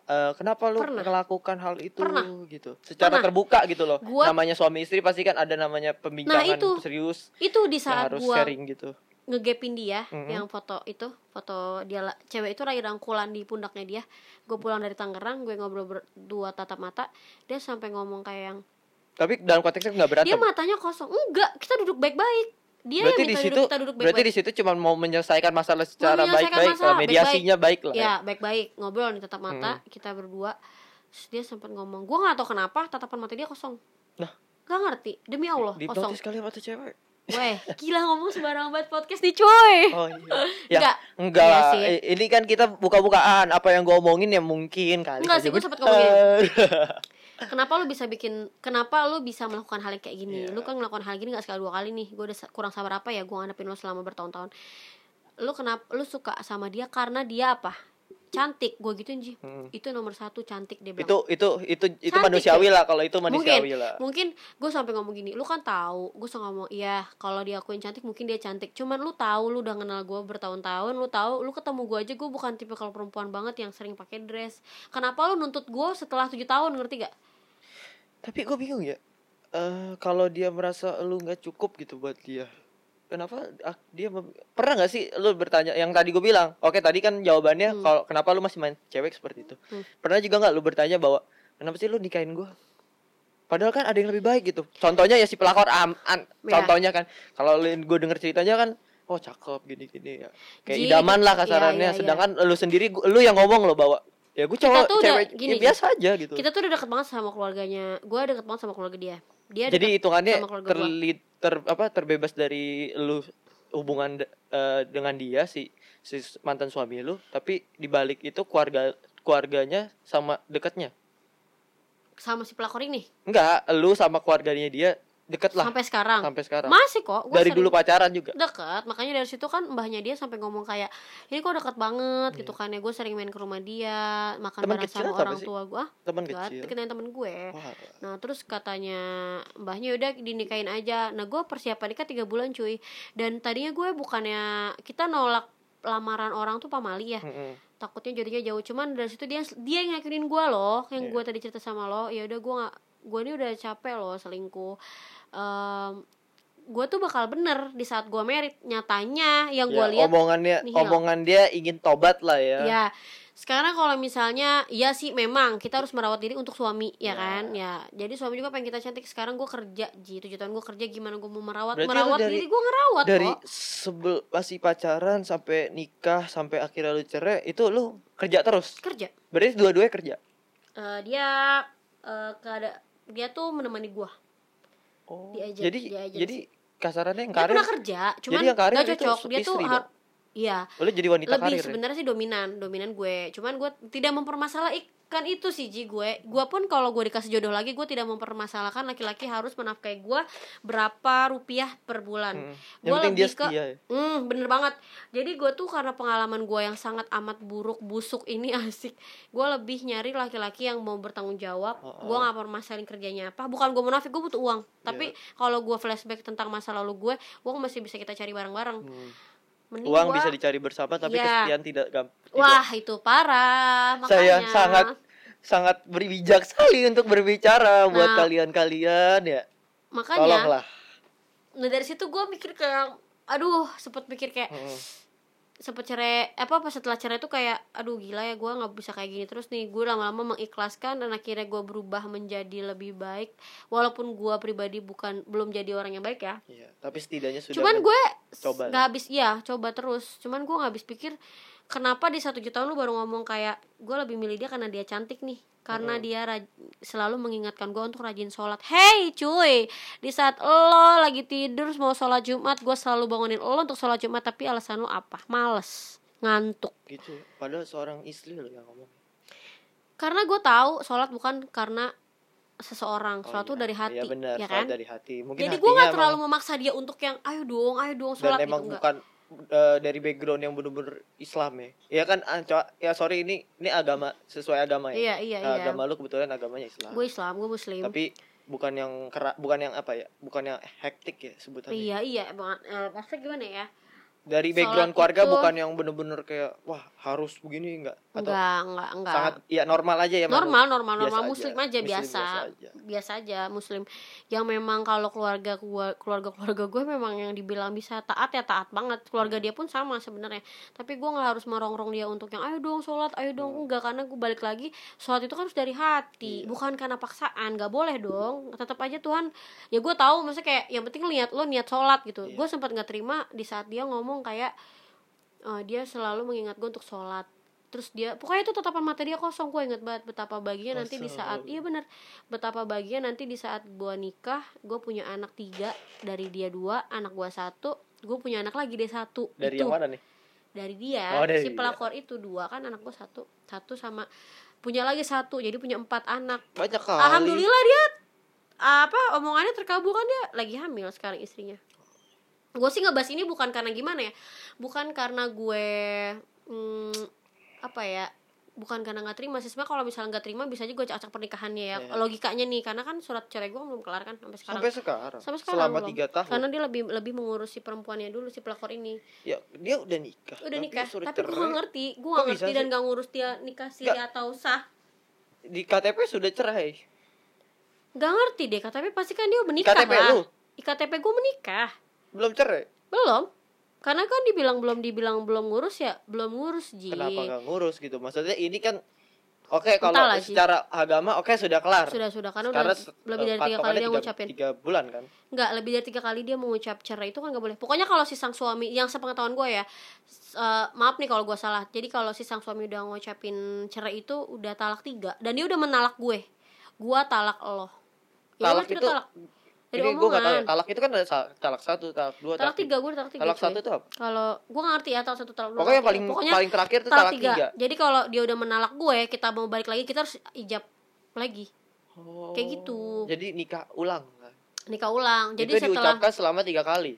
S2: Eh, kenapa lu
S1: Pernah.
S2: melakukan hal itu
S1: Pernah.
S2: gitu secara
S1: Pernah.
S2: terbuka gitu loh
S1: Gua- Nah,
S2: namanya suami istri pasti kan ada namanya pembincangan
S1: itu.
S2: serius
S1: itu di
S2: yang
S1: saat
S2: harus
S1: gue
S2: sharing gitu
S1: ngegepin dia
S2: Mhm.
S1: yang foto itu foto dia la- cewek itu rai rangkulan di pundaknya dia gue pulang dari Tangerang gue ngobrol berdua tatap mata dia sampai ngomong kayak yang
S2: tapi dalam konteksnya nggak
S1: dia
S2: berantem
S1: matanya kosong enggak kita duduk baik-baik dia
S2: berarti
S1: yang
S2: di
S1: minta
S2: situ
S1: duduk kita duduk
S2: berarti
S1: baik-baik
S2: di situ cuma mau menyelesaikan masalah secara
S1: menyelesaikan
S2: baik-baik
S1: masalah,
S2: lah, mediasinya baik lah ya.
S1: ya baik-baik ngobrol nih tatap mata kita berdua Terus dia sempat ngomong gue nggak tahu kenapa tatapan mata dia kosong
S2: Nah.
S1: Gak ngerti, demi Allah,
S2: di
S1: kosong
S2: kali sama tuh cewek
S1: Weh, gila ngomong sembarangan banget podcast nih cuy
S2: oh iya ya
S1: Enggak,
S2: enggak
S1: Iya
S2: lah
S1: sih.
S2: I- ini kan kita buka-bukaan apa yang gue omongin ya mungkin kali
S1: Enggak
S2: saja
S1: sih, gua sempet
S2: bener.
S1: kenapa lu bisa bikin kenapa lu bisa melakukan hal yang kayak gini
S2: Iya.
S1: lu kan melakukan hal gini gak sekali dua kali nih gue udah sa- kurang sabar apa ya gue ngadepin lu selama bertahun-tahun lu kenapa lu suka sama dia karena dia apa cantik gue gituin ji
S2: Hmm.
S1: itu nomor satu cantik dia bilang
S2: itu itu itu itu
S1: Cantik, ya?
S2: manusiawi lah kalau itu
S1: mungkin
S2: manusiawi lah
S1: mungkin gue sampai ngomong gini lu kan tahu gue suka ngomong iya kalau diakuin cantik mungkin dia cantik cuman lu tahu lu udah kenal gue bertahun-tahun lu tahu lu ketemu gue aja gue bukan tipe kalau perempuan banget yang sering pakai dress kenapa lu nuntut gue setelah tujuh tahun ngerti gak
S2: tapi gue bingung ya Eh kalau dia merasa lu nggak cukup gitu buat dia kenapa ah, dia mem- pernah nggak sih lu bertanya yang tadi gue bilang oke tadi kan jawabannya
S1: Hmm.
S2: kalau kenapa lu masih main cewek seperti itu
S1: Hmm.
S2: pernah juga nggak lu bertanya bahwa kenapa sih lu nikahin gue padahal kan ada yang lebih baik gitu contohnya ya si pelakor am, an-
S1: Iya.
S2: contohnya kan kalau gue denger ceritanya kan oh cakep gini gini ya kayak
S1: Ji,
S2: idaman lah
S1: iya,
S2: kasarannya
S1: iya, iya.
S2: sedangkan lu sendiri gua- lu yang ngomong lo bahwa ya gue
S1: Kita
S2: cowok
S1: tuh udah
S2: cewek ya
S1: gini, Ji.
S2: biasa aja gitu
S1: kita tuh udah deket banget sama keluarganya gue deket banget sama keluarga dia Dia
S2: Jadi
S1: dekat
S2: hitungannya
S1: sama keluarga gua.
S2: terli- ter apa terbebas dari lu hubungan de- eh, dengan dia si si mantan suami lu, tapi dibalik itu keluarga keluarganya sama dekatnya.
S1: sama si pelakor ini
S2: Enggak, lu sama keluarganya dia deket lah
S1: sampai sekarang.
S2: sampai sekarang.
S1: Masih kok. gua
S2: Dari
S1: sering-
S2: dulu pacaran juga.
S1: dekat makanya dari situ kan mbahnya dia sampai ngomong kayak ini kok dekat banget gitu kan ya gue sering main ke rumah dia makan
S2: Teman
S1: bareng
S2: Iya. kecil
S1: sama
S2: atau apa
S1: orang
S2: sih?
S1: tua gue
S2: Teman
S1: enggak
S2: kecil.
S1: deketin temen gue
S2: Wah,
S1: nah terus katanya mbahnya udah dinikahin aja nah gue persiapan nikah tiga bulan cuy dan tadinya gue bukannya kita nolak lamaran orang tuh pamali ya
S2: mm-mm.
S1: takutnya jadinya jauh cuman dari situ dia dia yang ngakinin gue loh yang
S2: Iya.
S1: gue tadi cerita sama lo ya udah gue nggak gue ini udah capek loh selingkuh gue tuh bakal bener di saat gue merit nyatanya yang gue
S2: Ya,
S1: lihat
S2: omongannya
S1: nihil.
S2: omongan dia ingin tobat lah ya.
S1: ya sekarang kalau misalnya ya sih memang kita harus merawat diri untuk suami ya
S2: Ya.
S1: kan ya jadi suami juga pengen kita cantik sekarang gue kerja ji tujuh tahun gue kerja gimana gue mau merawat
S2: Berarti lu
S1: merawat
S2: dari-
S1: diri gue ngerawat
S2: Dari
S1: kok
S2: sebel masih pacaran sampai nikah sampai akhirnya lu cerai itu lu kerja terus.
S1: kerja
S2: Berarti dua-duanya kerja.
S1: Eh, dia eh keada dia tuh menemani gue
S2: Oh.
S1: Diajak-
S2: jadi
S1: diajak
S2: jadi kasarannya yang
S1: dia
S2: karir
S1: pernah kerja cuman
S2: jadi yang karir
S1: gak
S2: itu
S1: cocok dia tuh
S2: istri
S1: har- iya
S2: lu jadi wanita
S1: lebih
S2: karir. ya?
S1: sebenarnya sih dominan dominan gue cuman gue tidak mempermasalahkan itu sih Ji gue gue pun kalau gue dikasih jodoh lagi gue tidak mempermasalahkan laki-laki harus menafkahi gue berapa rupiah per bulan
S2: Mm. Yang
S1: gue
S2: penting dia
S1: lebih ke
S2: setia ya.
S1: Hmm, bener banget. Jadi gue tuh karena pengalaman gue yang sangat amat buruk, busuk ini asik. Gue lebih nyari laki-laki yang mau bertanggung jawab.
S2: Heeh.
S1: Gue nggak permasalahin kerjanya apa. Bukan gue munafik, gue butuh uang. Tapi
S2: Iya.
S1: kalau gue flashback tentang masa lalu gue, uang masih bisa kita cari bareng-bareng.
S2: Hmm.
S1: Mending
S2: Uang
S1: gua-
S2: bisa gitu. dicari bersama tapi
S1: Iya.
S2: kesetiaan tidak gampang.
S1: Wah itu parah. Makanya.
S2: Saya sangat sangat berbijak sekali untuk berbicara buat
S1: Nah. Kan
S2: kalian-kalian ya.
S1: Makanya.
S2: Tolonglah.
S1: Nah dari situ gue mikir kayak, aduh, sempet mikir kayak
S2: Mm.
S1: sempet cerai apa pas setelah cerai tuh kayak aduh gila ya gue nggak bisa kayak gini terus nih gue lama-lama mengikhlaskan dan akhirnya gue berubah menjadi lebih baik walaupun gue pribadi bukan belum jadi orang yang baik ya
S2: Iya, tapi setidaknya sudah
S1: cuman gue s-
S2: coba
S1: nggak habis ya coba terus cuman gue nggak habis pikir kenapa di satu juta lu baru ngomong kayak gue lebih milih dia karena dia cantik nih karena dia raj- selalu mengingatkan gue untuk rajin sholat hey cuy di saat lo lagi tidur mau sholat jumat gue selalu bangunin lo untuk sholat jumat tapi alasan lo apa males ngantuk
S2: gitu ya. padahal seorang istri loh yang ngomong
S1: karena gue tahu sholat bukan karena seseorang sholat tuh dari hati
S2: ya benar
S1: ya kan
S2: soal dari hati mungkin
S1: jadi gue
S2: hatinya
S1: nggak
S2: emang-
S1: terlalu memaksa dia untuk yang ayo dong ayo dong
S2: dan
S1: sholat gitu
S2: emang
S1: nggak.
S2: bukan eh, dari background yang bener-bener Islam ya ya kan ah, coba- ya sorry ini ini agama sesuai agama ya
S1: Iya iya
S2: Nah,
S1: iya.
S2: agama lu kebetulan agamanya Islam
S1: Gue Islam, gue Muslim.
S2: tapi bukan yang kera, bukan yang apa ya bukan yang hektik ya sebutannya
S1: iya iya banget. Eh, maksudnya gimana ya?
S2: dari
S1: Sholat
S2: background keluarga
S1: itu-
S2: bukan yang bener-bener kayak wah harus begini enggak atau
S1: Enggak enggak enggak.
S2: sangat ya normal aja ya Manu?
S1: normal normal
S2: Biasa
S1: normal
S2: aja.
S1: Muslim aja
S2: Muslim
S1: biasa
S2: biasa aja.
S1: biasa aja Muslim yang memang kalau keluarga gua keluarga keluarga gue memang yang dibilang bisa taat ya taat banget
S2: Hmm.
S1: keluarga dia pun sama sebenarnya tapi gua nggak harus merongrong dia untuk yang ayo dong sholat ayo dong enggak karena gue balik lagi sholat itu kan harus dari hati
S2: Hmm. Iya.
S1: bukan karena paksaan nggak boleh dong tetap aja Tuhan ya gue tahu maksudnya kayak yang penting lihat lo niat sholat gitu
S2: Iya.
S1: gue sempat nggak terima di saat dia ngomong kayak eh, dia selalu mengingat gue untuk sholat terus dia pokoknya itu tatapan mata dia kosong gue inget banget betapa bahagia nanti di saat
S2: Kosong.
S1: iya bener betapa bahagia nanti di saat gue nikah gue punya anak tiga dari dia dua anak gue satu gue punya anak lagi dia satu
S2: dari
S1: itu
S2: yang mana nih
S1: dari dia
S2: Oh, dari
S1: si
S2: dia.
S1: pelakor itu dua kan anak gue satu satu sama punya lagi satu jadi punya empat anak
S2: banyak kali
S1: alhamdulillah dia apa omongannya terkabul kan dia lagi hamil sekarang istrinya gue sih ngebahas ini bukan karena gimana ya bukan karena gue hmm, apa ya bukan karena nggak terima sih sebenarnya kalau misalnya nggak terima bisa aja gue acak pernikahannya ya
S2: Iya.
S1: logikanya nih karena kan surat cerai gue belum kelar kan sampai sekarang
S2: sampai sekarang
S1: Sampai sekarang
S2: selama
S1: belum.
S2: tiga tahun
S1: karena dia lebih lebih mengurusi perempuannya dulu si pelakor ini
S2: ya dia udah nikah
S1: udah
S2: tapi
S1: nikah
S2: suruh
S1: tapi gue
S2: cerai.
S1: gak ngerti gue
S2: Kok
S1: gak
S2: bisa
S1: ngerti
S2: sih?
S1: dan gak ngurus dia nikah siri
S2: Nggak.
S1: atau sah
S2: di KTP sudah cerai
S1: gak ngerti deh tapi pasti kan dia menikah
S2: KTP
S1: lah
S2: lu?
S1: KTP gue menikah
S2: belum cerai
S1: belum karena kan dibilang belum dibilang belum ngurus ya belum ngurus ji
S2: kenapa nggak ngurus gitu maksudnya ini kan oke kalau
S1: Entahlah, Ji.
S2: secara agama oke sudah kelar
S1: sudah sudah karena
S2: Karena eh,
S1: udah lebih dari tiga kali dia ngucapin
S2: tiga bulan kan
S1: nggak lebih dari tiga kali dia mengucap cerai itu kan nggak boleh pokoknya kalau si sang suami yang sepengetahuan gue ya s- eh, maaf nih kalau gue salah jadi kalau si sang suami udah ngucapin cerai itu udah talak tiga dan dia udah menalak gue gue talak lo ya
S2: talak
S1: udah, kita
S2: itu
S1: Dari
S2: Ini gue gak tahu.
S1: omongan.
S2: Talak itu kan ada sa- talak satu, talak dua,
S1: Talak tiga gue talak tiga.
S2: Talak
S1: cuy.
S2: satu itu apa?
S1: Kalau gue nggak ngerti ya talak satu talak dua.
S2: Pokoknya yang
S1: talak
S2: paling
S1: tiga. Pokoknya
S2: paling terakhir itu
S1: talak
S2: talak
S1: tiga.
S2: tiga.
S1: Jadi kalau dia udah menalak gue, kita mau balik lagi kita harus ijab lagi
S2: Oh.
S1: Kayak gitu.
S2: Jadi nikah ulang.
S1: nikah ulang. Jadi
S2: itu
S1: setelah
S2: diucapkan selama tiga kali.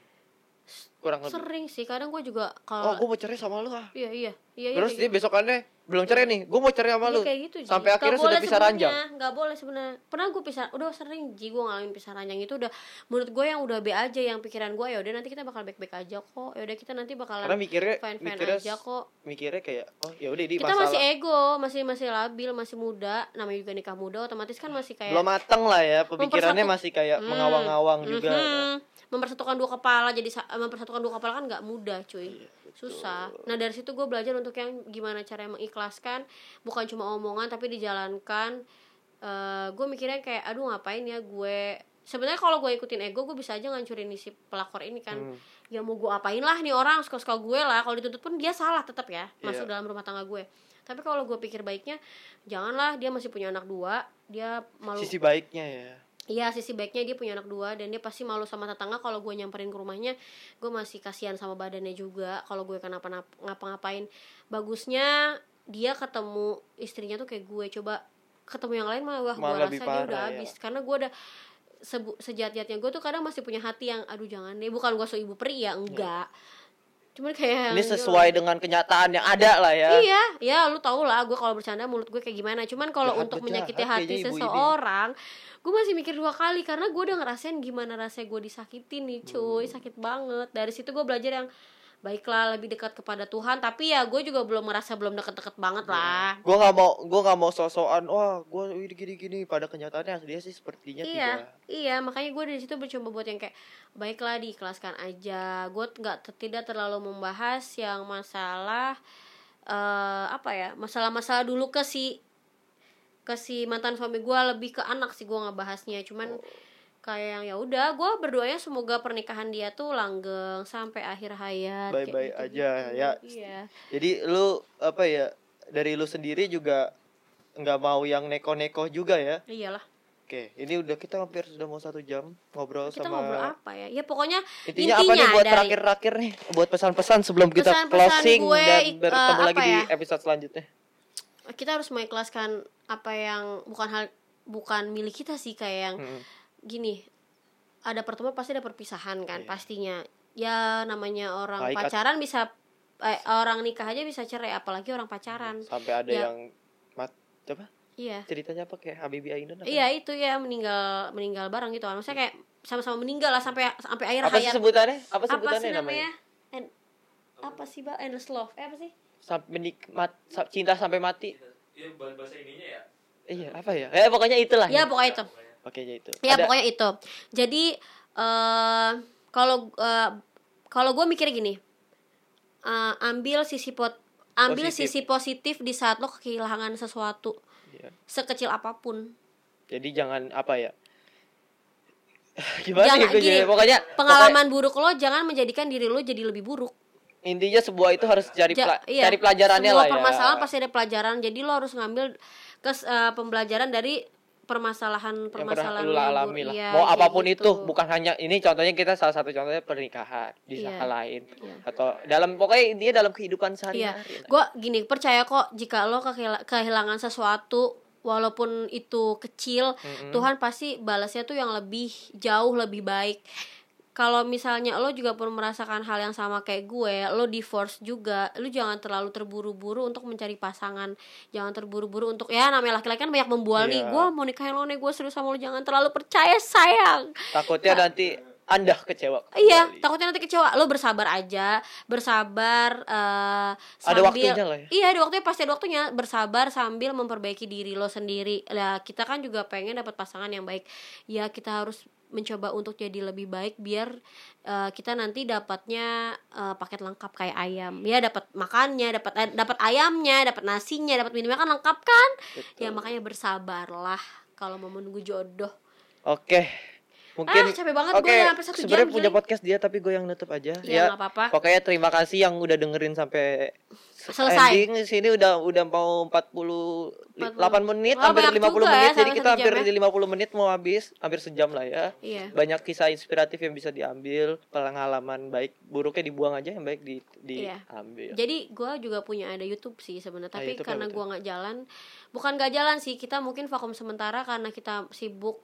S2: Kurang lebih.
S1: sering sih kadang gue juga kalau
S2: Oh, gue mau cerai sama lu ah.
S1: iya iya iya iya,
S2: Terus
S1: iya.
S2: dia besokannya belum cerai nih. Gue mau cerai
S1: Iya,
S2: sama lu.
S1: kayak gitu Ji.
S2: Sampai
S1: Nggak
S2: akhirnya
S1: boleh
S2: sudah pisah
S1: sebenarnya,
S2: ranjang.
S1: nggak boleh sebenarnya pernah gue pisah udah sering ji gue ngalamin pisah ranjang itu udah menurut gue yang udah be aja yang pikiran gue ya udah nanti kita bakal baik baik aja kok ya udah kita nanti bakalan
S2: Karena mikirnya
S1: fine fine
S2: mikirnya
S1: aja kok
S2: mikirnya kayak oh ya udah ini
S1: kita
S2: masalah.
S1: masih ego masih masih labil masih muda namanya juga nikah muda otomatis kan masih kayak
S2: belum mateng lah ya pemikirannya
S1: Mempersatu-
S2: masih kayak
S1: Hmm.
S2: mengawang-awang juga kan.
S1: Mhm. mempersatukan dua kepala jadi sa- mempersatukan dua kepala kan nggak mudah cuy
S2: Iya, betul.
S1: susah nah dari situ gue belajar untuk yang gimana cara mengikhlaskan bukan cuma omongan tapi dijalankan Eh, gue mikirnya kayak aduh ngapain ya gue sebenarnya kalau gue ikutin ego gue bisa aja ngancurin isi pelakor ini kan
S2: Hmm.
S1: ya mau gue apain lah nih orang suka suka gue lah kalau dituntut pun dia salah tetap ya masuk
S2: Iya.
S1: dalam rumah tangga gue tapi kalau gue pikir baiknya janganlah dia masih punya anak dua dia malu
S2: Sisi baiknya ya.
S1: Iya sisi baiknya dia punya anak dua dan dia pasti malu sama tetangga kalau gue nyamperin ke rumahnya gue masih kasihan sama badannya juga kalau gue kenapa ngapa-ngapain bagusnya dia ketemu istrinya tuh kayak gue coba ketemu yang lain mah wah gue
S2: Malah
S1: rasa
S2: lebih
S1: dia udah
S2: parah, ya.
S1: habis karena gue udah sebu- sejahat-jahatnya gue tuh kadang masih punya hati yang aduh jangan deh bukan gue so ibu peri ya enggak cuman kayak
S2: Iya. Ini sesuai dengan kenyataan yang ada lah ya.
S1: Iya, ya lu tau lah gue kalau bercanda mulut gue kayak gimana. Cuman kalau
S2: Jahat
S1: untuk
S2: banget,
S1: menyakiti
S2: jahat
S1: hati
S2: kayaknya ibu ini.
S1: seseorang, gue masih mikir dua kali karena gue udah ngerasain gimana rasanya gue disakitin nih, cuy.
S2: Hmm.
S1: Sakit banget. Dari situ gue belajar yang baiklah lebih dekat kepada Tuhan, tapi ya gue juga belum merasa belum deket-deket banget
S2: Iya.
S1: lah.
S2: Gue nggak mau gue nggak mau sosokan wah gue gini-gini pada kenyataannya dia sih
S1: iya,
S2: sepertinya tidak.
S1: iya. Makanya gue dari situ bercoba buat yang kayak baiklah diikhlaskan aja. Gue nggak tidak terlalu membahas yang masalah eh apa ya masalah-masalah dulu ke si ke si mantan suami gue lebih ke anak sih gue nggak bahasnya. Cuman
S2: Oh.
S1: kayak yang ya udah gue berdoanya semoga pernikahan dia tuh langgeng sampai akhir hayat. kayak
S2: Baik-baik
S1: gitu-gitu.
S2: aja, ya.
S1: Iya.
S2: Jadi lu apa ya dari lu sendiri juga nggak mau yang neko-neko juga ya.
S1: Iyalah.
S2: Oke, ini udah kita hampir sudah mau satu jam ngobrol
S1: Kita
S2: sama
S1: ngobrol apa ya? Ya pokoknya
S2: intinya, apa nih buat
S1: dari-
S2: terakhir-terakhir nih buat pesan-pesan sebelum kita
S1: Pesan-pesan
S2: closing
S1: gue,
S2: dan
S1: ik- eh,
S2: bertemu lagi
S1: apa
S2: di
S1: ya?
S2: episode selanjutnya.
S1: kita harus mengikhlaskan apa yang bukan hal bukan milik kita sih kayak yang
S2: Hmm.
S1: gini ada pertemuan pasti ada perpisahan kan
S2: Iya.
S1: pastinya ya namanya orang
S2: Baik, at-
S1: pacaran bisa eh, orang nikah aja bisa cerai apalagi orang pacaran
S2: Hmm, Sampai ada
S1: Ya.
S2: yang mat apa
S1: iya
S2: ceritanya apa kayak Habibie Ainun apa?
S1: iya itu ya meninggal meninggal bareng gitu kan maksudnya kayak sama-sama meninggal lah sampai sampai akhir
S2: Iya. Apa sih
S1: hayat
S2: sebutannya? Apa
S1: apa
S2: sebutannya
S1: sih
S2: namanya?
S1: namanya, En- apa sih bal endless love eh, apa sih
S2: Sam- menikmat sa- cinta sampai mati.
S3: Iya, bahan bahasa ininya ya.
S2: Iya, apa ya? Eh pokoknya itulah.
S1: ya pokoknya itu
S2: Oke, ya itu.
S1: Ya
S2: Ada-
S1: pokoknya itu. Jadi eh kalau eh, kalau gue mikir gini, eh, ambil sisi pot, ambil
S2: Positif.
S1: sisi positif di saat lo kehilangan sesuatu
S2: Iya.
S1: sekecil apapun.
S2: Jadi jangan apa ya? Gimana
S1: Jangan
S2: ya gue
S1: gini,
S2: jadi- pokoknya
S1: Pengalaman buruk lo jangan menjadikan diri lo jadi lebih buruk.
S2: pokoknya intinya sebuah itu harus cari
S1: Ja-
S2: pela-
S1: iya,
S2: cari pelajarannya
S1: semua
S2: lah ya.
S1: permasalahan pasti ada pelajaran. Jadi lo harus ngambil kes eh, pembelajaran dari permasalahan
S2: yang pernah
S1: permasalahan
S2: lu alami lah.
S1: Iya,
S2: Mau
S1: kayak
S2: apapun
S1: gitu.
S2: itu, bukan hanya ini contohnya kita salah satu contohnya pernikahan di
S1: Iya.
S2: hal lain
S1: Iya.
S2: atau dalam pokoknya intinya dalam
S1: Iya,
S2: kehidupan sehari-hari. lah.
S1: gue gini percaya kok jika lo kehila- kehilangan sesuatu walaupun itu kecil,
S2: Mm-mm.
S1: Tuhan pasti balasnya tuh yang lebih jauh lebih baik. Kalau misalnya lo juga pun merasakan hal yang sama kayak gue, lo divorce juga, lo jangan terlalu terburu-buru untuk mencari pasangan, jangan terburu-buru untuk ya namanya laki-laki kan banyak membual nih,
S2: Iya.
S1: gue mau nikahin lo nih, gue serius sama lo, jangan terlalu percaya sayang.
S2: Takutnya nanti Anda kecewa.
S1: Iya,
S2: kembali.
S1: takutnya nanti kecewa. Lo bersabar aja, bersabar eh,
S2: Ada
S1: sambil
S2: waktunya lah ya.
S1: Iya, ada waktunya pasti ada waktunya. Bersabar sambil memperbaiki diri lo sendiri. Lah, kita kan juga pengen dapat pasangan yang baik. Ya, kita harus mencoba untuk jadi lebih baik biar eh, kita nanti dapatnya eh, paket lengkap kayak ayam. Ya, dapat makannya, dapat eh, dapat ayamnya, dapat nasinya, dapat minumnya kan lengkap kan?
S2: Betul.
S1: Ya, makanya bersabarlah kalau mau menunggu jodoh.
S2: Oke.
S1: Ah,
S2: mungkin
S1: capek banget,
S2: oke
S1: gua udah hampir satu jam,
S2: sebenarnya punya
S1: gila.
S2: podcast dia tapi gue yang nutup aja
S1: Ya, nggak apa-apa.
S2: pokoknya terima kasih yang udah dengerin sampai
S1: Selesai.
S2: ending sini udah udah mau 48 menit
S1: Wah,
S2: hampir
S1: banyak
S2: 50
S1: juga ya,
S2: menit jadi
S1: sampai
S2: kita
S1: satu
S2: hampir
S1: jam
S2: di 50 menit mau habis hampir sejam lah ya
S1: Iya.
S2: banyak kisah inspiratif yang bisa diambil pengalaman baik buruknya dibuang aja yang baik di
S1: Iya.
S2: diambil
S1: Jadi gua juga punya ada YouTube sih sebenarnya,
S2: Ah,
S1: tapi
S2: YouTube
S1: karena
S2: apa tuh?
S1: gua nggak jalan, bukan nggak jalan sih, kita mungkin vakum sementara karena kita sibuk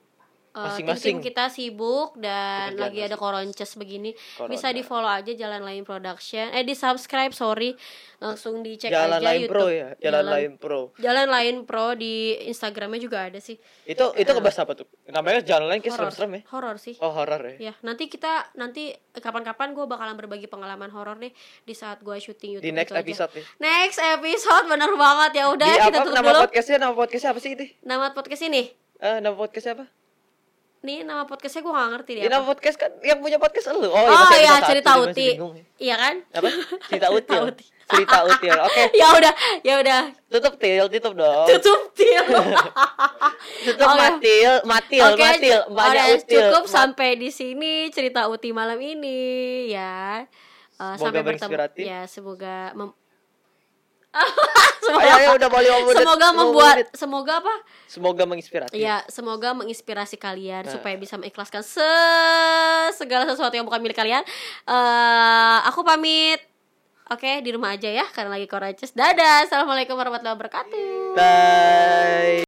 S1: eh,
S2: Masing-masing.
S1: tim-tim kita sibuk dan lagi
S2: Pekerjaan
S1: ada
S2: masing-masing.
S1: koronces begini.
S2: Corona.
S1: Bisa di follow aja Jalan Lain Production. Eh di subscribe sorry, langsung dicek
S2: jalan
S1: aja
S2: lain
S1: YouTube.
S2: pro ya jalan, lain pro
S1: Jalan Lain Pro di Instagramnya juga ada sih.
S2: itu
S1: Ah.
S2: itu kebahas apa tuh namanya jalan lain kayak
S1: Horor.
S2: serem-serem ya
S1: Horor sih.
S2: oh horor ya
S1: Ya, nanti kita nanti kapan-kapan gue bakalan berbagi pengalaman horor nih di saat gue syuting YouTube
S2: di next
S1: itu aja.
S2: episode nih
S1: Next episode bener banget ya udah kita
S2: di Iya, apa
S1: tutup
S2: nama
S1: dulu.
S2: podcastnya nama podcastnya apa sih ini
S1: Nama podcast ini.
S2: Eh, nama podcastnya apa?
S1: Nih nama podcastnya gue gak ngerti deh.
S2: Ya,
S1: Iya, apa.
S2: nama podcast kan yang punya podcast lu. Oh,
S1: Oh,
S2: ya, masih ada
S1: iya,
S2: satu,
S1: cerita
S2: dia masih
S1: uti.
S2: bingung.
S1: Iya kan?
S2: Apa? Cerita
S1: Cerita
S2: util.
S1: util.
S2: cerita util. Oke,
S1: ya udah, ya udah.
S2: tutup til, tutup dong.
S1: Tutup til.
S2: Tutup
S1: Oke.
S2: matil, matil,
S1: Oke,
S2: matil. Banyak
S1: oke,
S2: util.
S1: cukup
S2: Ma-
S1: sampai di sini cerita Uti malam ini ya. Eh,
S2: Semoga
S1: sampai bertemu.
S2: berinspiratif.
S1: Ya, semoga mem-
S2: Ayo, ayo, Oh, iya, udah boleh ngomong menit,
S1: semoga
S2: ngomong
S1: membuat
S2: menit.
S1: semoga apa?
S2: Semoga menginspiratif.
S1: Ya, semoga menginspirasi kalian supaya bisa mengikhlaskan se- segala sesuatu yang bukan milik kalian. Eh, aku pamit. Oke, di rumah aja ya karena lagi koraces. Dadah. Assalamualaikum warahmatullahi wabarakatuh.
S2: Bye.